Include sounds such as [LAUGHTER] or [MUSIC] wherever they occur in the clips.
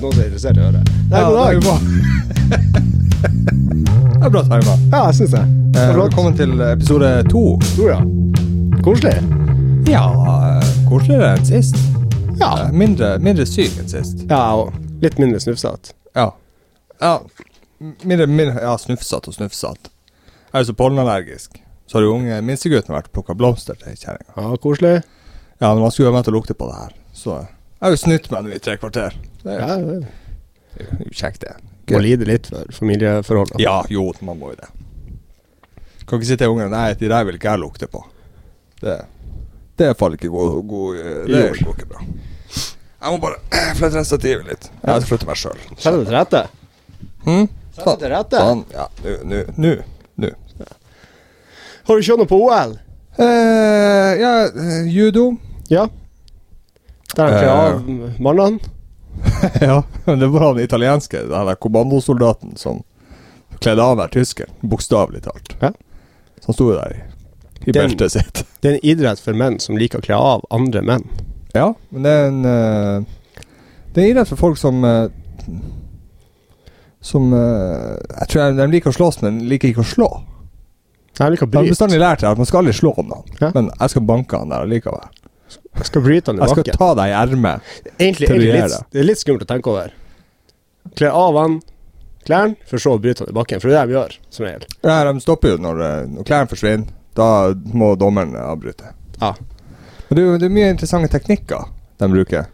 noen som er interessert i å høre. Nei, Ja, god dag. det er [LAUGHS] Det er bra timer. Ja, jeg syns det. det Eh, er flott. velkommen til episode to. Stora. Koselig. Ja, eh, koseligere enn sist. Ja. Eh, Mindre, mindre syk enn sist. ja. Og litt mindre snufsete. Ja. Ja, m- mindre, mindre, ja snufsete og snufsete. Jeg er jo så pollenallergisk. Så har jo unge minstegutten vært og plukka blomster til kjerringa. Ja, koselig. Ja, men han skulle jo vente og lukte på det her, så jeg har jo snytt meg nå i tre kvarter. Det er Ja, det- jo kjekt, det. Må lide litt for familieforholdene. Ja, jo, man må jo det. Kan ikke si til ungene Nei, de der vil ikke jeg lukte på. Det, det er faller ikke god, god eh, Det Jord. går ikke bra. Jeg må bare [CLEARS THROAT] flytte ned stativet litt. Jeg skal flytte meg sjøl. Sett deg til rette. Hm? Sett deg til rette. Sånn. Ja, nå, nå, nå. nå. Har du kjørt noe på OL? Eh, ja, eh, judo. Ja. Der han kler Eh. av mannene. [LAUGHS] ja, men det var han italienske, den der kommandosoldaten som kledde av hver tysker, bokstavelig talt. Ja. Så han sto jo der i, i Den- beltet sitt. Det er en idrett for menn som liker å kle av andre menn. Ja, men det er en eh, Det er en idrett for folk som eh, Som eh, Jeg tror de liker å slåss, men liker ikke å slå. Jeg liker å Jeg har bryte. bestandig lært det, at man skal aldri slå noen. Ja. Men jeg skal banke han der likevel. Jeg skal bryte han i Jeg skal bakken. ta deg i ermet. Egentlig, til å egentlig gjøre litt, det er litt skummelt å tenke over. Kle av han klærne, for så å bryte han i bakken. For det er det de gjør, som regel. Ja, de stopper jo når, eh, når klærne forsvinner. Da må dommeren avbryte. Ja. Men det er jo det er mye interessante teknikker de bruker.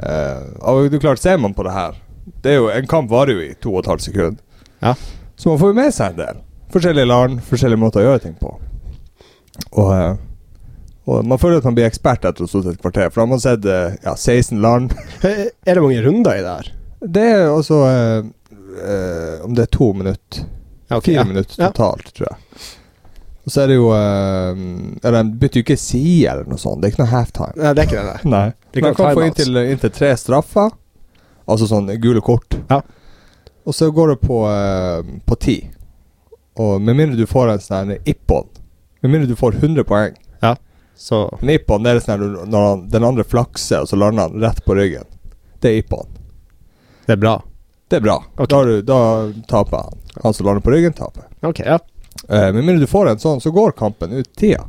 Eh, og det er klart, ser man på det her Det er jo, En kamp varer jo i to og et halvt sekund. Ja. Så man får jo med seg en del. Forskjellige land, forskjellige måter å gjøre ting på. Og, eh, og man føler at man blir ekspert etter å ha stått et kvarter, for da har man sett eh, ja, 16 land. [LAUGHS] Er det mange runder i det her? Det er altså eh, eh, Om det er to minutter Ja, ok, Fire ja. minutter totalt, tror jeg. Og så er det jo eh, ja, De bytter jo ikke side eller noe sånt. Det er ikke noe halftime. Nei, det er ikke det, nei. Nei. Det Man kan kan få timeouts. inntil, inntil tre straffer, altså sånn gule kort. Ja. Og så går det på, eh, på ti. Og med mindre du får en sånn her ippon Med mindre du får 100 poeng Så En ippon det er sånn her når han, den andre flakser, og så lander han rett på ryggen. Det er ippon. det er bra. Det er bra. Ok. Da, har du, da taper han. Han som lander på ryggen, taper. Ok, ja. Eh, med mindre du får en sånn, så går kampen ut tida.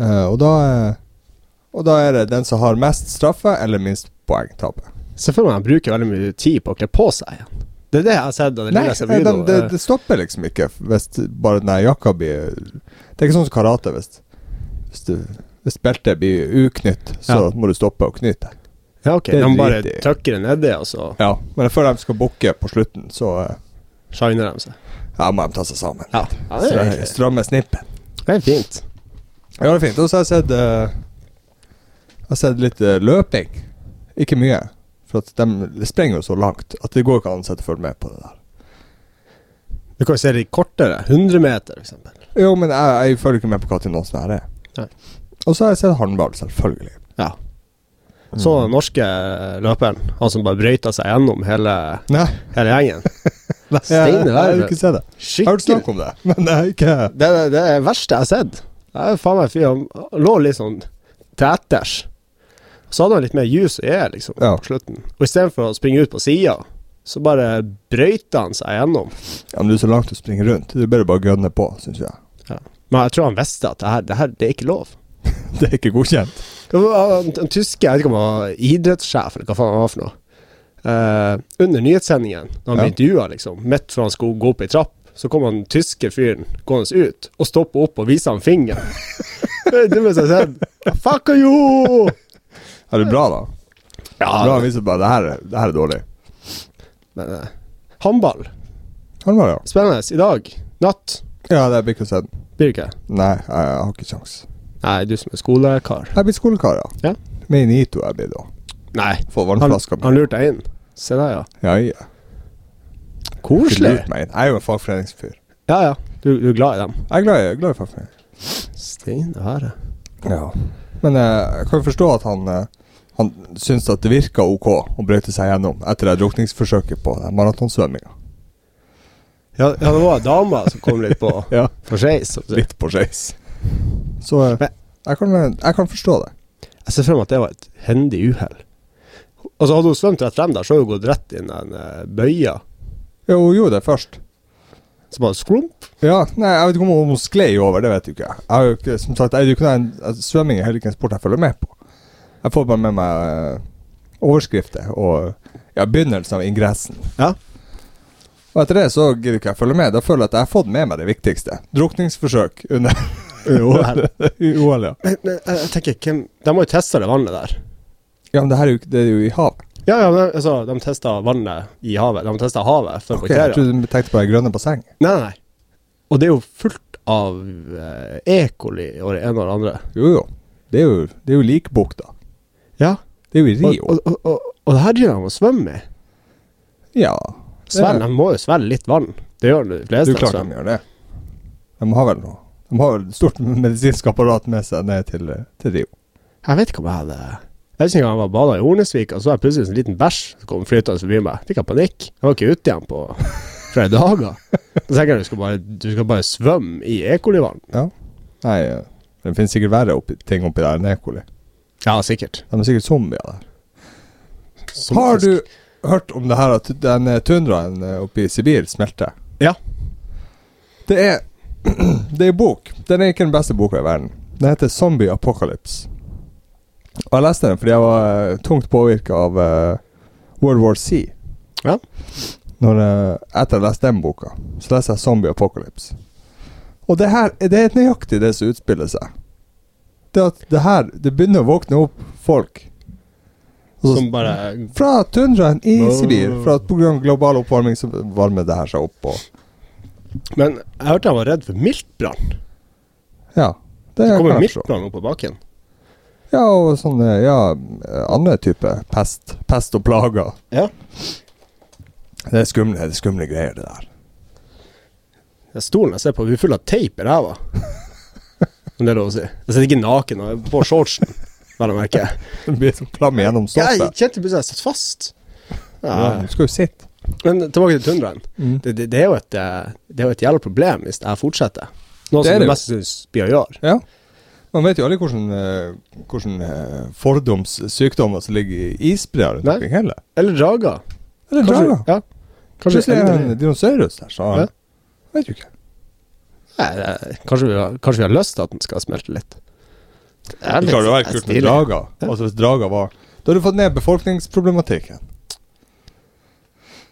Eh, og da eh, Og da er det den som har mest straffer eller minst poeng, taper. Selvfølgelig han bruker veldig mye tid på å kle på seg igjen. Det er det jeg har sett. av Det Nei, lille jeg ser på eh, judo. den- det, det stopper liksom ikke hvis t- bare den her jakka blir Det er ikke sånn som karate. Hvis, hvis, du- hvis beltet blir uknytt, så Ja. må du stoppe og knyte. ja, ok. det De bare driter jeg i. tøkker det nedi, og så Ja. Men før de skal bukke på slutten, så eh, shiner de seg. ja, må de ta seg sammen. Ja, det, er, Stra- egentlig- Stramme snippen. det er fint. Ja, det er fint. Og så har jeg sett eh, Jeg har sett litt eh, løping. Ikke mye. For at de springer jo så langt at det går ikke an å sette følge med på det der. Du kan jo se de kortere. 100 meter, for eksempel. Jo, men jeg, jeg følger ikke med på hva til noen sånne her er. Nei. Og så har jeg sett håndball, selvfølgelig. Ja. Så den norske løperen, han som bare brøyta seg gjennom hele, Nei, hele [LAUGHS] gjengen. jeg, jeg, Steine har verre. ikke sett det. Jeg har hørt Skikkelig. snakk om det, [LAUGHS] men jeg har ikke Det er det er det verste jeg har sett. Det er faen meg fyr, Han lå litt sånn til etters. Så hadde han litt mer juice og er, liksom, Ja. på slutten. Og istedenfor å springe ut på sida, så bare brøyta han seg gjennom. Ja, men du er så langt du springer rundt. Du bør bare gønne på, syns jeg. [LAUGHS] Men jeg tror han visste at det her, det her det er ikke lov. Det er ikke godkjent. Det var En, en tysker, jeg vet ikke om han var idrettssjef, eller hva faen han var for noe, Eh, under nyhetssendingen, da han Ja. ble intervjua, liksom, midt før han skulle gå opp ei trapp, så kom han tyske fyren gående ut, og stoppa opp og viste han [LAUGHS] fingeren. det er det mest jeg har sett. Fuck you! Er det bra, da? Bra Ja, viser bare det her, det her er dårlig. men eh, Håndball. Håndball, ja. Spennende. I dag. Natt. Ja, det blir ikke sett. Blir det ikke? Nei, jeg har ikke kjangs. Nei, du som er skolekar. Jeg er blitt skolekar, ja. Ja. Med Nito er jeg blitt, da. Nei, Få han, vannflaska mi. han lurte deg inn. Se der, ja. Ja, ja. Ikke Koselig. lurt meg inn. Jeg er jo en fagforeningsfyr. Ja, ja. Du, du er glad i dem? Jeg er glad i, glad i fagforening. Steine herre. Ja. Men eh, jeg kan jo forstå at han eh, Han syns at det virka ok å brøyte seg gjennom etter det drukningsforsøket på den maratonsvømminga. Ja, ja, det var dama som kom litt på [LAUGHS] Ja. for skeis. som du sier. Litt på skeis. Så eh, Men- jeg kan, jeg kan forstå det. Jeg ser frem at det var et hendig uhell. Altså Hadde hun svømt rett frem der, så hadde hun gått rett inn i den eh, bøya. Jo, hun gjorde det først. Så bare skrump. Ja, nei, Jeg vet ikke om hun sklei over, det vet du ikke. Jeg har jo ikke, som sagt, jeg, er jo ikke noen, altså, Svømming er heller ikke en sport jeg følger med på. Jeg får bare med meg eh, overskrifter og ja, begynnelsen av ingressen. Ja. Og etter det så gidder ikke jeg følge med. Da føler jeg at jeg har fått med meg det viktigste. Drukningsforsøk under Men, [LAUGHS] i OL, ja. men eh, jeg jeg tenker, hvem De har jo testa det vannet der. ja. Men det her er jo, ikke- det er jo i havet. Ja, ja, men, altså, de testa vannet i havet. De testa havet for Ok, jeg bakterier. trodde du tenkte på det grønne bassenget. Nei, nei, nei. Og det er jo fullt av eh, E. coli og det ene og det andre. Jo, jo. Det er jo, det er jo likbukta. Ja. Det er jo i Og, Rio. og, og, og, og det her driver de og svømmer i. ja. Svelg, Ja. De må jo svelge litt vann. Det gjør de Det er fleste. jo klart de gjør det. De har vel noe De har vel et stort medisinsk apparat med seg ned til, til Rio. Jeg vet ikke om jeg hadde Jeg husker en gang jeg var bada i Hornesvika, så var jeg plutselig en liten bæsj som kom flytende forbi meg. Fikk jeg panikk. Jeg var ikke ute igjen på [LAUGHS] flere dager. Så tenker jeg du skal bare, du skal bare svømme i E. coli-vann. Nei, eh, det finnes sikkert verre oppi, ting oppi der enn ekoli. Ja, sikkert. De er sikkert zombier der. Som har fisk. du hørt om det her at den eh, tundraen eh, oppe i Sibir smelter? Ja. Det er [CLEARS THROAT] Det er en bok. Den er ikke den beste boka i verden. Den heter 'Zombie Apocalypse'. Og jeg leste den fordi jeg var eh, tungt påvirka av eh, World War C. Ja. Når, eh, etter jeg leste den boka, så leser jeg 'Zombie Apocalypse'. Og det her det er nøyaktig det som utspiller seg. Det at det her Det begynner å våkne opp folk. Og så- Som bare fra tundraen i Nå. Sibir. For at pga. global oppvarming så varmer det her seg opp. Og, Men jeg hørte jeg var redd for miltbrann. ja, det, Det kan kommer jeg forstå. miltbrann opp på bakken. Ja, og sånne ja, andre type pest. Pest og plager. Ja. Det er skumle, det er skumle greier, det der. Den Stolen jeg ser på, blir full av teip i [LAUGHS] ræva. Om det er lov å si. Jeg sitter ikke naken og er på shortsen, vel å [LAUGHS] merke. Den blir så klam gjennom Jeg stoffet. kjente plutselig at jeg satt fast. Ja. Ja, du skal jo sitte. Men tilbake til tundraen. Mm. Det, det, det er jo et, eh, det er jo et jævla problem hvis jeg fortsetter. Noe som Det er det det jo. mest syns Bia gjør. Ja. Man vet jo alle hvordan, eh, hvordan eh, fordomssykdommer som ligger i isbreer rundt Nei. omkring heller. Eller drager. Eller drager. Ja. Kanskje, Plutselig er det eller- en dinosaurus der, så Ja. Vet jo ikke. Nei, det- kanskje, vi har, kanskje vi har lyst til at den skal smelte litt. Det er Det litt- klarer å være det er kult med stilig. drager. Altså hvis drager var Da har du fått ned befolkningsproblematikken.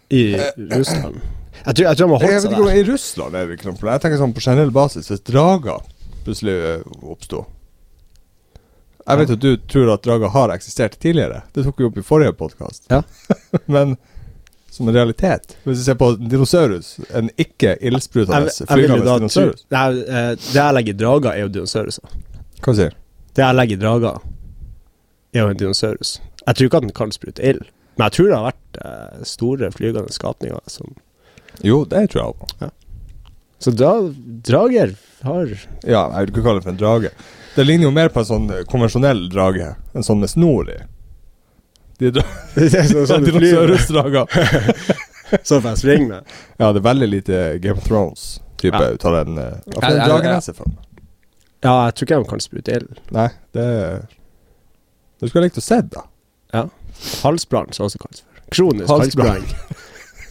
I Russland. Jeg tror, jeg tror man Jeg holdt vet seg ikke om der. I Russland er det ikke noe problem. Jeg tenker sånn på generell basis hvis drager plutselig eh, oppsto Jeg vet jo at du tror at drager har eksistert tidligere. Det tok vi opp i forrige podkast. Ja. [LAUGHS] Men som en realitet Hvis du ser på dinosaurus, en ikke Jeg, ildsprutende jeg vil jo flygende da tro dinosaurus Nei, eh, Det jeg legger i drager, er jo dinosauruser. Hva sier du? Det jeg legger i drager, er jo en dinosaurus. Jeg tror ikke at den kan sprute ild, men jeg tror det har vært eh, store flygende skapninger som Jo, det tror jeg på. Så da, drager har Ja, jeg vil ikke kalle det for en drage. Det ligner jo mer på en sånn eh, konvensjonell drage. En sånn med snor i. De dra [LAUGHS] [LAUGHS] Det er sånn, [LAUGHS] sånn du flyr [LAUGHS] dinosaurusdrager. Sånn får jeg springe med. Ja, det er veldig lite Game of Thrones-type Ja. ut av den. eh, Ja, Hvorfor er ja, en drage ja. leser for meg? Ja, jeg tror ikke de kan sprute ild. Nei, det Du skulle ha likt å se, da. Halsbrann, som også kalles for. Kronisk Halsbrann.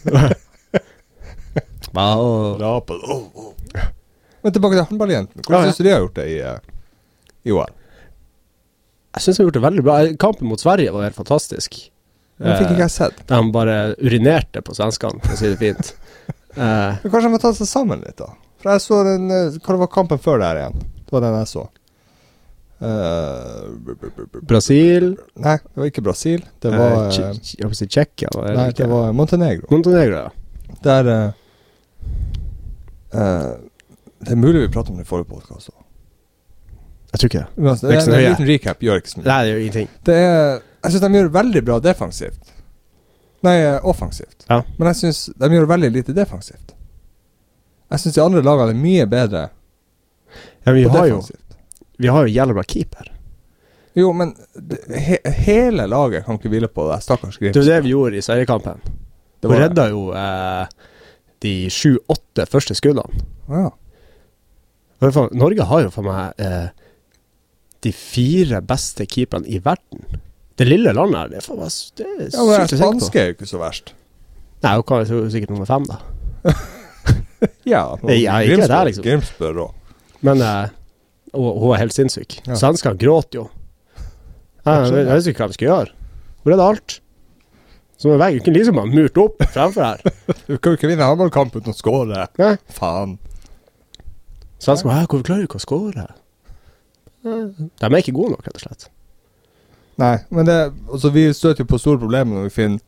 halsbrann. [LAUGHS] wow. Dra på oh, oh. Men tilbake til håndballjentene. Hvordan Ja, ja. syns du de har gjort det i, eh, i OL? Jeg syns de har gjort det veldig bra. Kampen mot Sverige var helt fantastisk. Den Eh, fikk ikke jeg sett. De bare urinerte på svenskene, for å si det [LAUGHS] fint. Eh, Men kanskje de må ta seg sammen litt, da. For jeg så den eh, Hva det var kampen før der igjen? Det var den jeg så. Eh, br- br- br- br- Brasil Nei, det var ikke Brasil. Det eh, var, Tsje- eh, Tsje- Jeg holdt på å si Tsjekkia. var det nei, ikke? det var Montenegro. Montenegro, ja. Der eh, eh, Det er mulig vi prater om det i forrige podkast òg. Jeg tror ikke det. altså, En Det er ikke så nøye. liten recap gjør ikke så mye. Nei, det er jo ingenting. Det er, jeg syns de gjør veldig bra defensivt. Nei, eh, offensivt. Ja. Men jeg syns de gjør veldig lite defensivt. Jeg syns de andre lagene er mye bedre Ja, vi, på har jo, defensivt. vi har jo jævla bra keeper. Jo, men det- he, hele laget kan ikke hvile på det. Stakkars Grims. Det var det vi gjorde i seriekampen. Vi Det var det. redda jo eh, de sju-åtte første skuddene. Ja. Og faen, Norge har jo for meg eh, de fire beste keeperne i verden. Det lille landet her, det er faen meg s- det er Ja, men sykt å tenke på. spanske er jo ikke så verst. Nei, hun kan jo sikkert nummer fem, da. Ja, Nei, ja, ikke det der, liksom. Grimsbø rå. Men eh, hun, hun er helt sinnssyk. Ja. Svenskene gråter jo. Jeg, jeg, jeg vet ikke hva de skal gjøre. Hvor er det alt? Som en vegg. Du kunne liksom bare murt opp fremfor [LAUGHS] her. Du kan jo ikke vinne håndballkamp uten å skåre. Nei. Faen. Svenskene bare «Hæ, 'Hvorfor klarer du ikke å score?' Eh, De er ikke gode nok, rett og slett. Nei, men det altså, Vi støter jo på store problemer når vi finner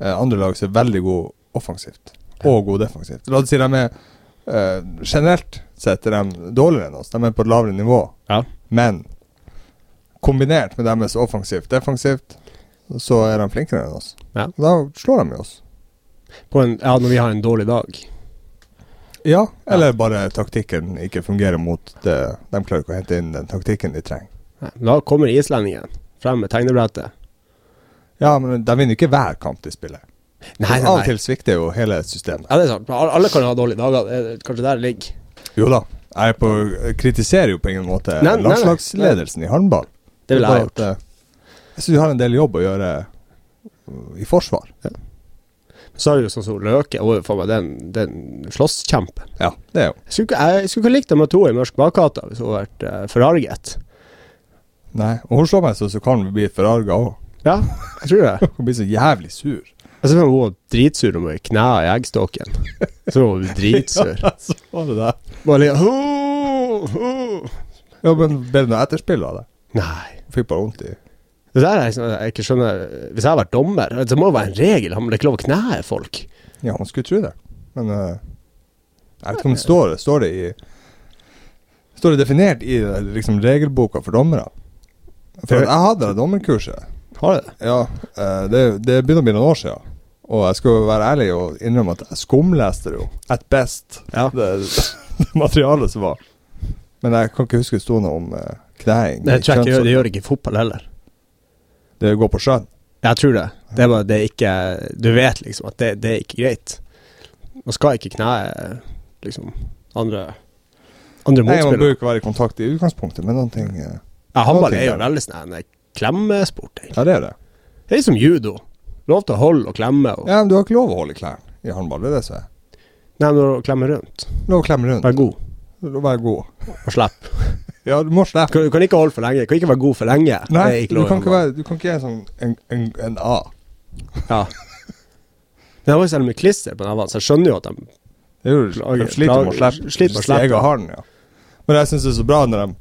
eh, andre lag som er veldig gode offensivt, og gode defensivt. La oss si de er eh, Generelt sett er de dårligere enn oss. De er på et lavere nivå. Ja. Men kombinert med deres offensivt defensivt, så er de flinkere enn oss. Ja. Og Da slår de jo oss. På en, ja, når vi har en dårlig dag. Ja, eller bare taktikken ikke fungerer mot det. De klarer ikke å hente inn den taktikken de trenger. Nei, Da kommer islendingen frem med tegnebrettet. Ja, men de vinner ikke hver kamp de spiller. Nei, Av nei, og nei. til svikter jo hele systemet. Ja, det er sant. Al- Alle kan jo ha dårlige dager. Det er Kanskje der det ligger. Jo da, jeg er på, kritiserer jo på ingen måte Nei, nei, nei. landslagsledelsen i håndball. Det ville er jeg bare gjort. at, eh, Jeg syns de har en del jobb å gjøre uh, i forsvar. Så er det jo sånn som Løke. Hun er jo faen meg den, den slåsskjempe. Ja, det er jo Jeg skulle ikke, jeg skulle ikke likt å møte henne i Mørk bakgata hvis hun hadde vært eh, forarget. Nei, og hun slår meg så, så kan hun bli forarga òg. Ja, jeg tror det. Hun blir så jævlig sur. Jeg ser for meg hun var dritsur om hun knæa i eggstokken. Så hun var dritsur. [LAUGHS] så var det der. Bare litt «Åh, åh». Ja, men ble det noe etterspill av det? Nei. Hun fikk bare vondt i Det der er liksom, jeg ikke skjønner Hvis jeg hadde vært dommer, det må jo være en regel. Han må ikke lov å knæe folk. Ja, man skulle tro det, men eh, Jeg vet ikke om det står det. Står det i Står det definert i eh, liksom, regelboka for dommere? For at jeg hadde det dommerkurset. Har du det? Ja, eh, det, det begynner å bli noen år siden. Og jeg skal jo være ærlig og innrømme at jeg skumleste det jo. At best. Ja. [LAUGHS] Det, det materialet som var. Men jeg kan ikke huske det sto noe om uh, knæing. Nei, jeg tror ikke, det gjør- Kjønnsorgan. det gjør ikke i fotball heller. Det går på skjønn. Jeg tror det. Det er bare det er ikke Du vet liksom at det, det er ikke greit. Man skal ikke knæe liksom andre Andre Nei, man bør motspillere. jo ikke være i kontakt i utgangspunktet, men noen ting eh, Ja, Håndball Noe er jo til, ja. veldig sånn en klemmesport. egentlig. Ja, det er det. Det er som judo. Lov til å holde og klemme. Og, Ja, men du har ikke lov å holde i klærne i håndball. Det er det som er. Nei, men å klemme rundt. Lov å klemme rundt. Vær god Å være god. og slipp. Ja, du må Du slippe. kan, du kan ikke holde for lenge. Du kan ikke være god for lenge. Nei, Det er du lov i kan ikke håndball. være Du kan ikke være sånn en, en, en A. Ja. Men Det var jo så jævlig mye klister på den her, så jeg skjønner jo at de Det er jo Plager- de sliter med å plager- slippe. sliter med å slippe. Steg av haren, ja. Men jeg syns det er så bra når de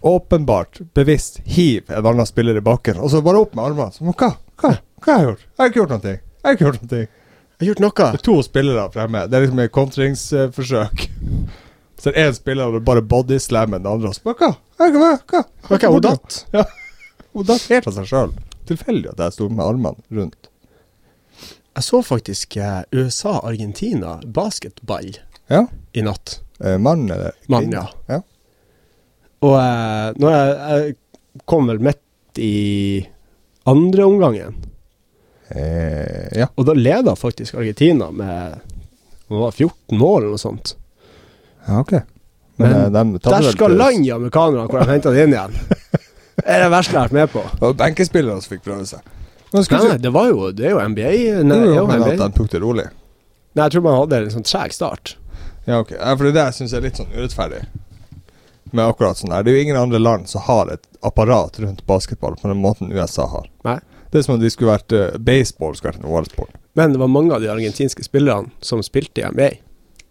åpenbart, bevisst hiver en annen spiller i bakken, og så bare opp med armene. Så, men hva? Hva? hva har jeg gjort? Jeg har ikke gjort noe. Jeg har ikke gjort noe. har gjort noe. Det er to spillere fremme. Det er liksom et kontringsforsøk. Så er det én spiller og bare bodyslammer den andre. Og så bare hva? Hva? Hva? hva? hva? Ok, hun datt. Hun datt helt av seg sjøl. Tilfeldig at jeg sto med armene rundt. Jeg så faktisk eh, USA-Argentina basketball Ja. i natt. Eh, Mann eller Mann, kvinne? ja. Og eh, når jeg, jeg kom vel midt i andre omgangen, Eh, ja. og da leda faktisk Argentina med det var 14 mål eller noe sånt. ja, ok. Men, Men eh, de tar Der vel skal til- land i amerikanerne hvor de henta det inn igjen! Det er det verste jeg har vært med på. Det var benkespillere som fikk prøve seg. Men Nei, skulle nei, det var jo Det er jo NBA. Nei, det er tro jo at NBA. de tok det rolig. nei jeg tror man hadde en sånn treg start. Ja, ok. Ja, for det er det jeg syns er litt sånn urettferdig. Med akkurat sånn her. Det er jo ingen andre land som har et apparat rundt basketball på den måten USA har. Nei. Det er som om de skulle vært eh, Baseball skulle vært en OL-sport. Men det var mange av de argentinske spillerne som spilte i NBA.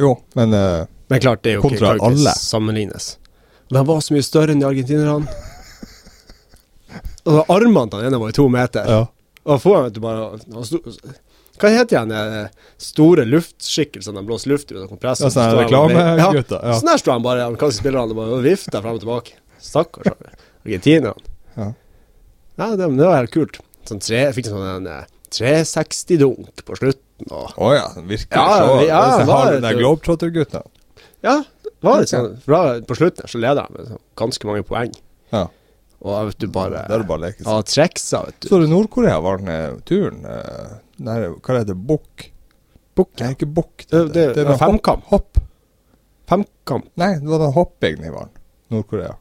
Jo, men eh, Men klart, det er jo Kontra ikke kan ikke alle. sammenlignes. Og de var så mye større enn de argentinerne. [LAUGHS] Og armene til den ene var jo to meter. ja. Og får han vet du bare han sto, Hva heter han eh, store luftskikkelsen de blåser luft ut av kompressen? Ja, sånn Så sånne står han og vei- reklamegutter, ja. Sånn der står han bare, amerikanske spillerne, og bare vifter frem og tilbake. Stakkars argentinerne. Ja. Nei, det, det var helt kult. Sånn tre, jeg fikk sånn en eh, 360-dunk på slutten, og Å ja, virkelig. Ja, så, ja, ja, det ja, var har et- den der Globetrotter-guttene. Ja, det var litt Ok. sånn For da, på slutten her så leder jeg med sånn ganske mange poeng. Ja. Og jeg vet du bare Der er det bare å leke seg. Ja, treksa, vet du. Så du Nord-Korea var den eh, turen eh, der, Hva heter det? Bukk? Nei, ikke bukk. Det, det, det var noe hopp- femkamp. Hopp. Femkamp. Nei, det var den hoppingen i Nord-Korea.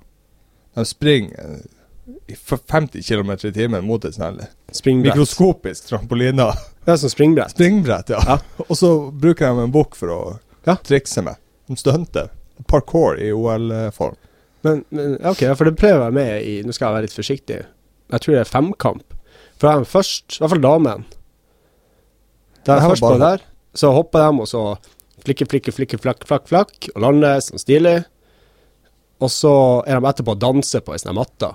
De springer eh, i f- 50 km i timen mot et sånt her Springbrett. mikroskopisk trampoline. Det er som springbrett. Springbrett, ja. Ja. Og så bruker de en bukk for å Ja. trikse med. De stunter. Parkour i OL-form. Men, men ja, ok, ja, for det pleier å være med i Nå skal jeg være litt forsiktig. Jeg tror det er femkamp. For de først, i hvert fall damen Da Jeg jeg har først på bare- der, så hopper de, og så flikke, flikke, flikke, flakk, flakk, flakk, og lander sånn stilig. Og så er de etterpå og danser på ei sånn her matte.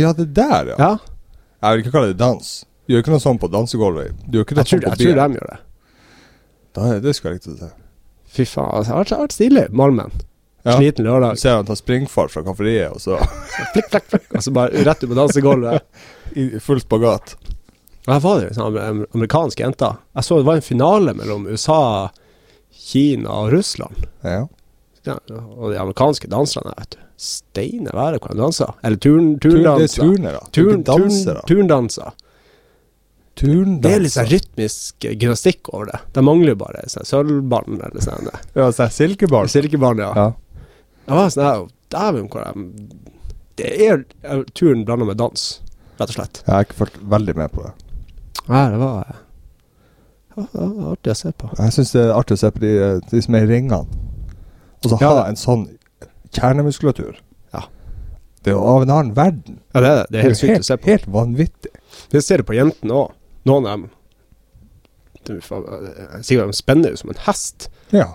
Ja, det der, ja. Ja, Jeg vil ikke kalle det dans. Du gjør ikke noe sånn på dansegulvet. Du gjør ikke noe jeg tror, sånn på jeg tror byen. de gjør det. Da er- Det skulle jeg likt å se. Fy faen, altså, det har vært- det har vært stilig. Malmen. Ja. Sliten Du lørdag. ser han tar springfart fra kafferiet, og så Flikk, flakk, flakk, og så bare rett ut på dansegulvet. i full spagat. Og Her var det jo sånn sånne amer- amerikanske jenter. Jeg så det var en finale mellom USA, Kina og Russland. Ja. Ja, og de amerikanske danserne, vet du. Steine være hvordan de danser. Eller turn, Tur, det er turndanser. turnere. Turn, Turn, dansere. turn, turndanser. Det er litt sånn Turndanser. rytmisk gymnastikk over det. De mangler jo bare sånn sølvbånd eller sånn. Ja, sånn silkebarn. Silkebånd, ja. Ja. Det var sånn her Dæven, hvor de Det er er turn blanda med dans, rett og slett. Jeg har ikke fulgt veldig med på det. Ja, det var eh, det var artig å se på. Jeg syns det er artig å se på de, de som er i ringene. Og så Ja. ha en sånn kjernemuskulatur. Ja. Det er jo av en annen verden. Ja, det er det. Det er helt jo sykt å se på. helt vanvittig. Det ser du på jentene òg. Noen av dem Du, faen, jeg sier de spenner jo som en hest. Ja.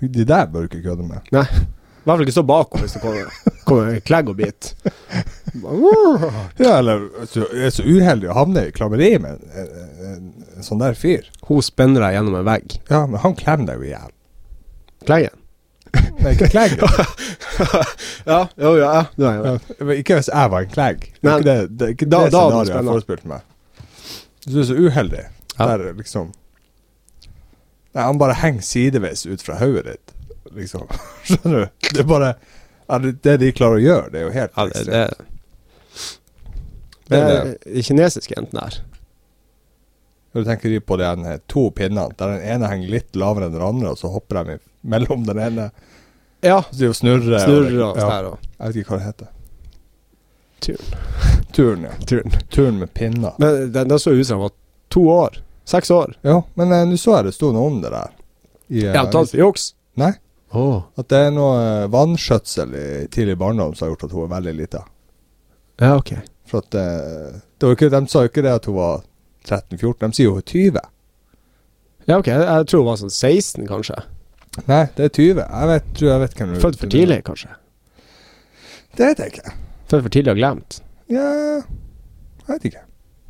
De der bør du ikke kødde med. Nei. I hvert fall ikke stå bakom hvis det kommer, kommer en klegg og bit. Hun Ja, eller hvis du er så uheldig å havne i klammeri med en, en, en, en sånn der fyr. spenner deg gjennom en vegg. Ja, men han klemmer deg jo i hjel. Kleggen? Nei, ikke klegg. Ja, jo, ja. ja. Nei, Ja, men ikke hvis jeg var en klegg. Det Nei. er ikke det, det, er ikke Da- det da hadde du scenarioet jeg spennende. har forespilt meg. Du er så uheldig. Ja. Der er liksom Nei, han bare henger sideveis ut fra hodet ditt, liksom. [LAUGHS] Skjønner du? Det er bare ja, det, det de klarer å gjøre, det er jo helt ja det, ekstremt. det, det Men, eh, er de kinesiske jentene her. Når du tenker de på de her to pinnene, der den ene henger litt lavere enn den andre, og så hopper de i- mellom den ene, Ja. så de jo snurrer Snurrer og ja, sånn her og Jeg vet ikke hva det heter. Turn. Turn, ja. turn. Turn med pinner. Men den, den så ut som den var to år. Seks år. Ja, men eh, nå så jeg det sto noe om det der. I, eh, Ja, talt for juks. Nei. Åh. At det er noe eh, vannskjøtsel i tidlig barndom som har gjort at hun er veldig lita. Ja, ok. For at eh, det var ikke, De sa jo ikke det at hun var 13-14, de sier jo hun er 20. Ja, ok. Jeg, jeg tror hun var sånn 16, kanskje. Nei, det er 20. Jeg vet, tror jeg vet hvem du Født for tidlig, kanskje. Det vet jeg ikke. Født for tidlig og glemt. Ja, jeg vet ikke.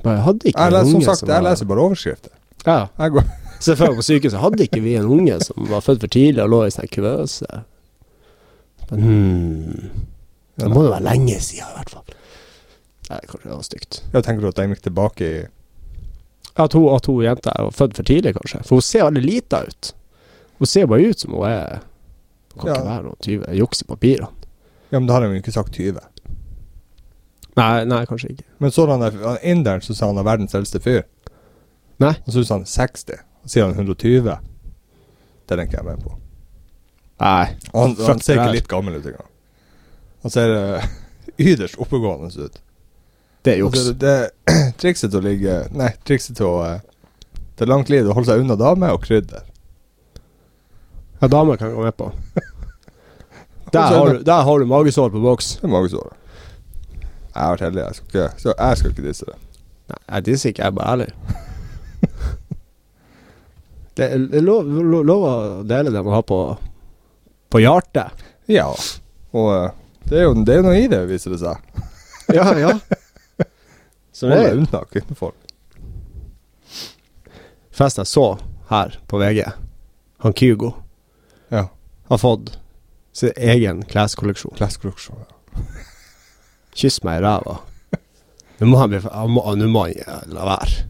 Bare, hadde ikke Jeg en leser, som unge sagt, jeg var- leser bare overskrifter. Ja, Jeg går, [LAUGHS] selvfølgelig på sykehuset hadde ikke vi en unge som var født for tidlig og lå i sånn kuvøse. Men, hmm, det må jo være lenge siden, i hvert fall. Nei, kanskje det var stygt. jeg tenker at de gikk tilbake i At hun, at hun jenta er født for tidlig, kanskje. For hun ser veldig lita ut. Hun ser bare ut som hun er Hun kan Ja. ikke være noen tyve. Juks i papirene. Ja, men da har de jo ikke sagt 20. Nei, nei, kanskje ikke. Men så han der han inderen som sa han er verdens eldste fyr. Nei. Og så sa han 60. Og så sier han 120. Det er den ikke jeg er med på. Nei. Og han, Fuck han ser det her. ikke litt gammel ut engang. Han ser eh, [LAUGHS] ytterst oppegående ut. Det er juks. Altså, det, [CLEARS THROAT] det trikset til å ligge Nei, trikset til å eh, Til langt liv, å holde seg unna damer og krydder. Ja, damer kan jeg gå med [LAUGHS] på. Der har du, der har du magesår på boks. Det er magesåret. Jeg har vært heldig, jeg skal ikke, så jeg skal ikke disse det. Nei, jeg disser ikke, jeg er bare ærlig. [LAUGHS] Det er det er lov, lov, lov å dele det man har på på hjertet. Ja. Og eh, det er, jo, det er jo noe i det, viser det seg. Ja, ja. [LAUGHS] Som Hold deg er unna kvinnfolk. fest jeg så her på VG. Han Kygo Ja. har fått sin egen kleskolleksjon. Kleskolleksjon. ja. Kyss meg i ræva. Nå må han bli han må- Nå må han ja, la være.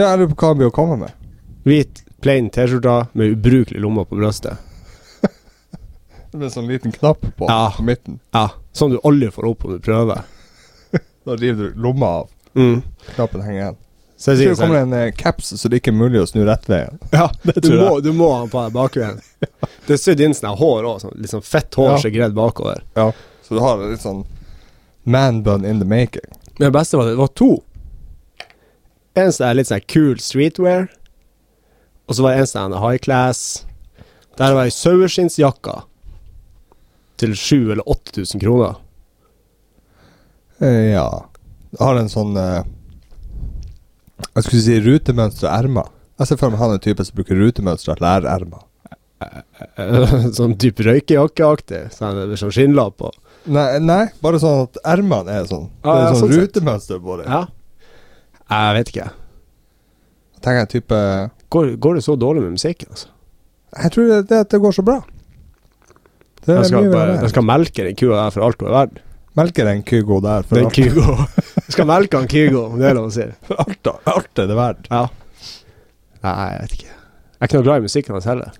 Ja, jeg lurer på hva han blir å komme med. Hvit, plain T-skjorte med ubrukelig lomme på brystet. Med en sånn liten knapp på, Ja. på midten. Ja, sånn du aldri får opp om du prøver. Da river du lomma av. Mm. Knappen henger igjen. Så jeg Jeg tror sier det kommer sånn en eh, caps så det ikke er mulig å snu rett veien. [LAUGHS] Ja, du tror jeg. må, du må ha den på deg bakveien. [LAUGHS] Det er sydd inn sånn her hår òg, sånn, litt sånn fett hår Ja. som er gredd bakover. Ja. Så du har litt sånn Man bun in the making. Men det beste var at det var to. En som er litt sånn cool streetwear, og så var det en som er high class. Der var ei saueskinnsjakke til 7000 eller 8000 kroner. [LAUGHS] Eh, Ja. Har en sånn eh, Jeg skulle si rutemønstra ermer. Jeg ser for meg han er typen som bruker rutemønstra lærermer. sånn type røykejakkeaktig, sånn med sånn skinnlapp på. Nei, nei, bare sånn at ermene er sånn. Det Ah, er ja, sånn sånn sett. rutemønster på dem. Ja. Jeg vet ikke. Tenker jeg type Går, går det så dårlig med musikken, altså? Jeg tror det, det, at det går så bra. Det Jeg er skal, mye bare, verre. jeg skal melke den kua der for alt hun er verdt. Melker en Kygo der for Den alt, Kygo. Jeg skal melke han Kygo, om det er lov å si. for [LAUGHS] alt, da- alt er det verdt. Ja. Nei, jeg vet ikke. Jeg er ikke noe glad i musikken hans heller.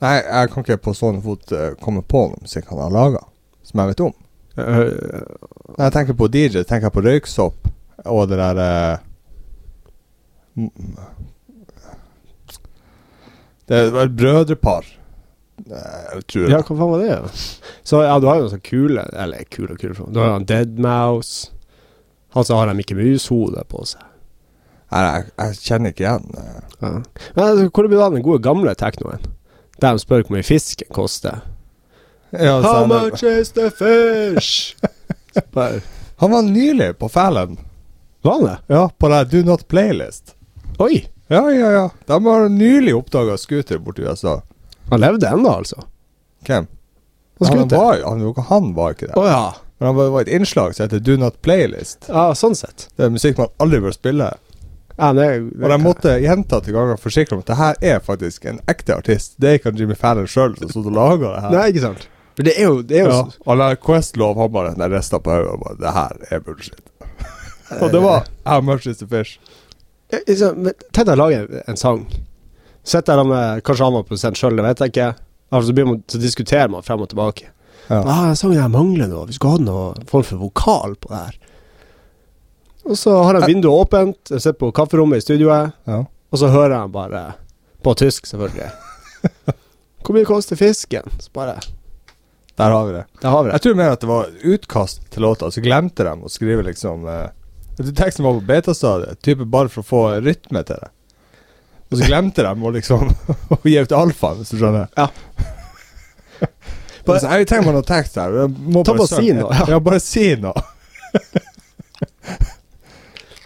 Nei, jeg kan ikke på stående fot eh, komme på noe musikk han har laga, som jeg vet om. Øh, Når jeg tenker på DJ, tenker jeg på røyksopp og det der eh, m- Det var et brødrepar. Eh, Jeg tror Ja, hva faen var det? da? Så ja, du har jo noen sånne kule Eller kule og kule Du har jo han Deadmouse. Han som har det Mikke Mus-hodet på seg. Nei, jeg, jeg kjenner ikke igjen. eh. Ja. Men altså, hvor blir det av den gode gamle teknoen? Der de spør hvor mye fisken koster. Ja, så How han- much is the [LAUGHS] fish? Bare, Han var nylig på Fallon. Var han det? Ja, på den Do Not Playlist. Oi! Ja, ja, ja. De har nylig oppdaga scooter borti USA. Han levde ennå, altså. Hvem? Han Han skute. Å var, han, han var ikke det. ja. Men han var, var et innslag som heter Do Not Playlist. ja. Sånn sett. Det er musikk man aldri bør spille. Ja, men det, Og de måtte gjentatte ganger forsikre om at det her er faktisk en ekte artist. Det er ikke han Jimmy Fallon sjøl som stod og laga det her. Nei, ikke sant? For det er jo, det er jo Ja. Og la Questlove han bare Nei, rista på hodet og bare Det her er bullshit. og det var How much is the fish? Ja, liksom, men Tenk deg å lage en- en sang. Sett deg der med Kanskje han var produsent sjøl, det vet jeg ikke. Altså, så, blir man, så diskuterer man frem og tilbake. Ja. Ah, 'Den sangen her mangler noe. Vi skulle hatt noe form for vokal på det her.' Og så har jeg vinduet åpent, jeg sitter på kafferommet i studioet, Ja. og så hører jeg bare På tysk, selvfølgelig. 'Hvor mye koster fisken?' Så bare Der har vi det. Der har vi det. Jeg tror mer at det var utkast til låta, så glemte de å skrive liksom eh, jeg tror Teksten var på betastadiet, type bare for å få rytme til det. Og så glemte de å liksom [LAUGHS] å gi ut alfaen, hvis du skjønner. Ja. Bare, så, jeg trenger meg noe tekst her. jeg Må Ta bare på si søke. noe, ja. Ja, bare si noe.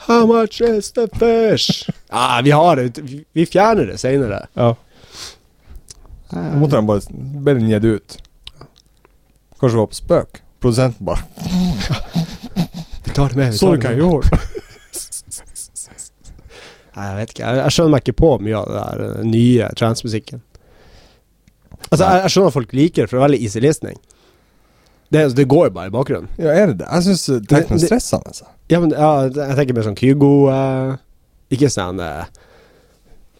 'How much is the fish?' ah, vi har det. Vi- Vi fjerner det seinere. Ja. Så måtte de bare be den gitt ut. Kanskje det var på spøk. Produsenten bare Vi tar det med. vi Så tar du det hva med. jeg gjorde? Nei, jeg vet ikke. Jeg, jeg skjønner meg ikke på mye av det der eh, nye transmusikken. Altså, jeg, jeg skjønner at folk liker det, for det er veldig easy listening. Det, altså, det går jo bare i bakgrunnen. Ja, er det det? Jeg syns teksten Det- er det- stressende. Altså. Ja, men ja, jeg tenker mer sånn Kygo eh, Ikke sånn eh,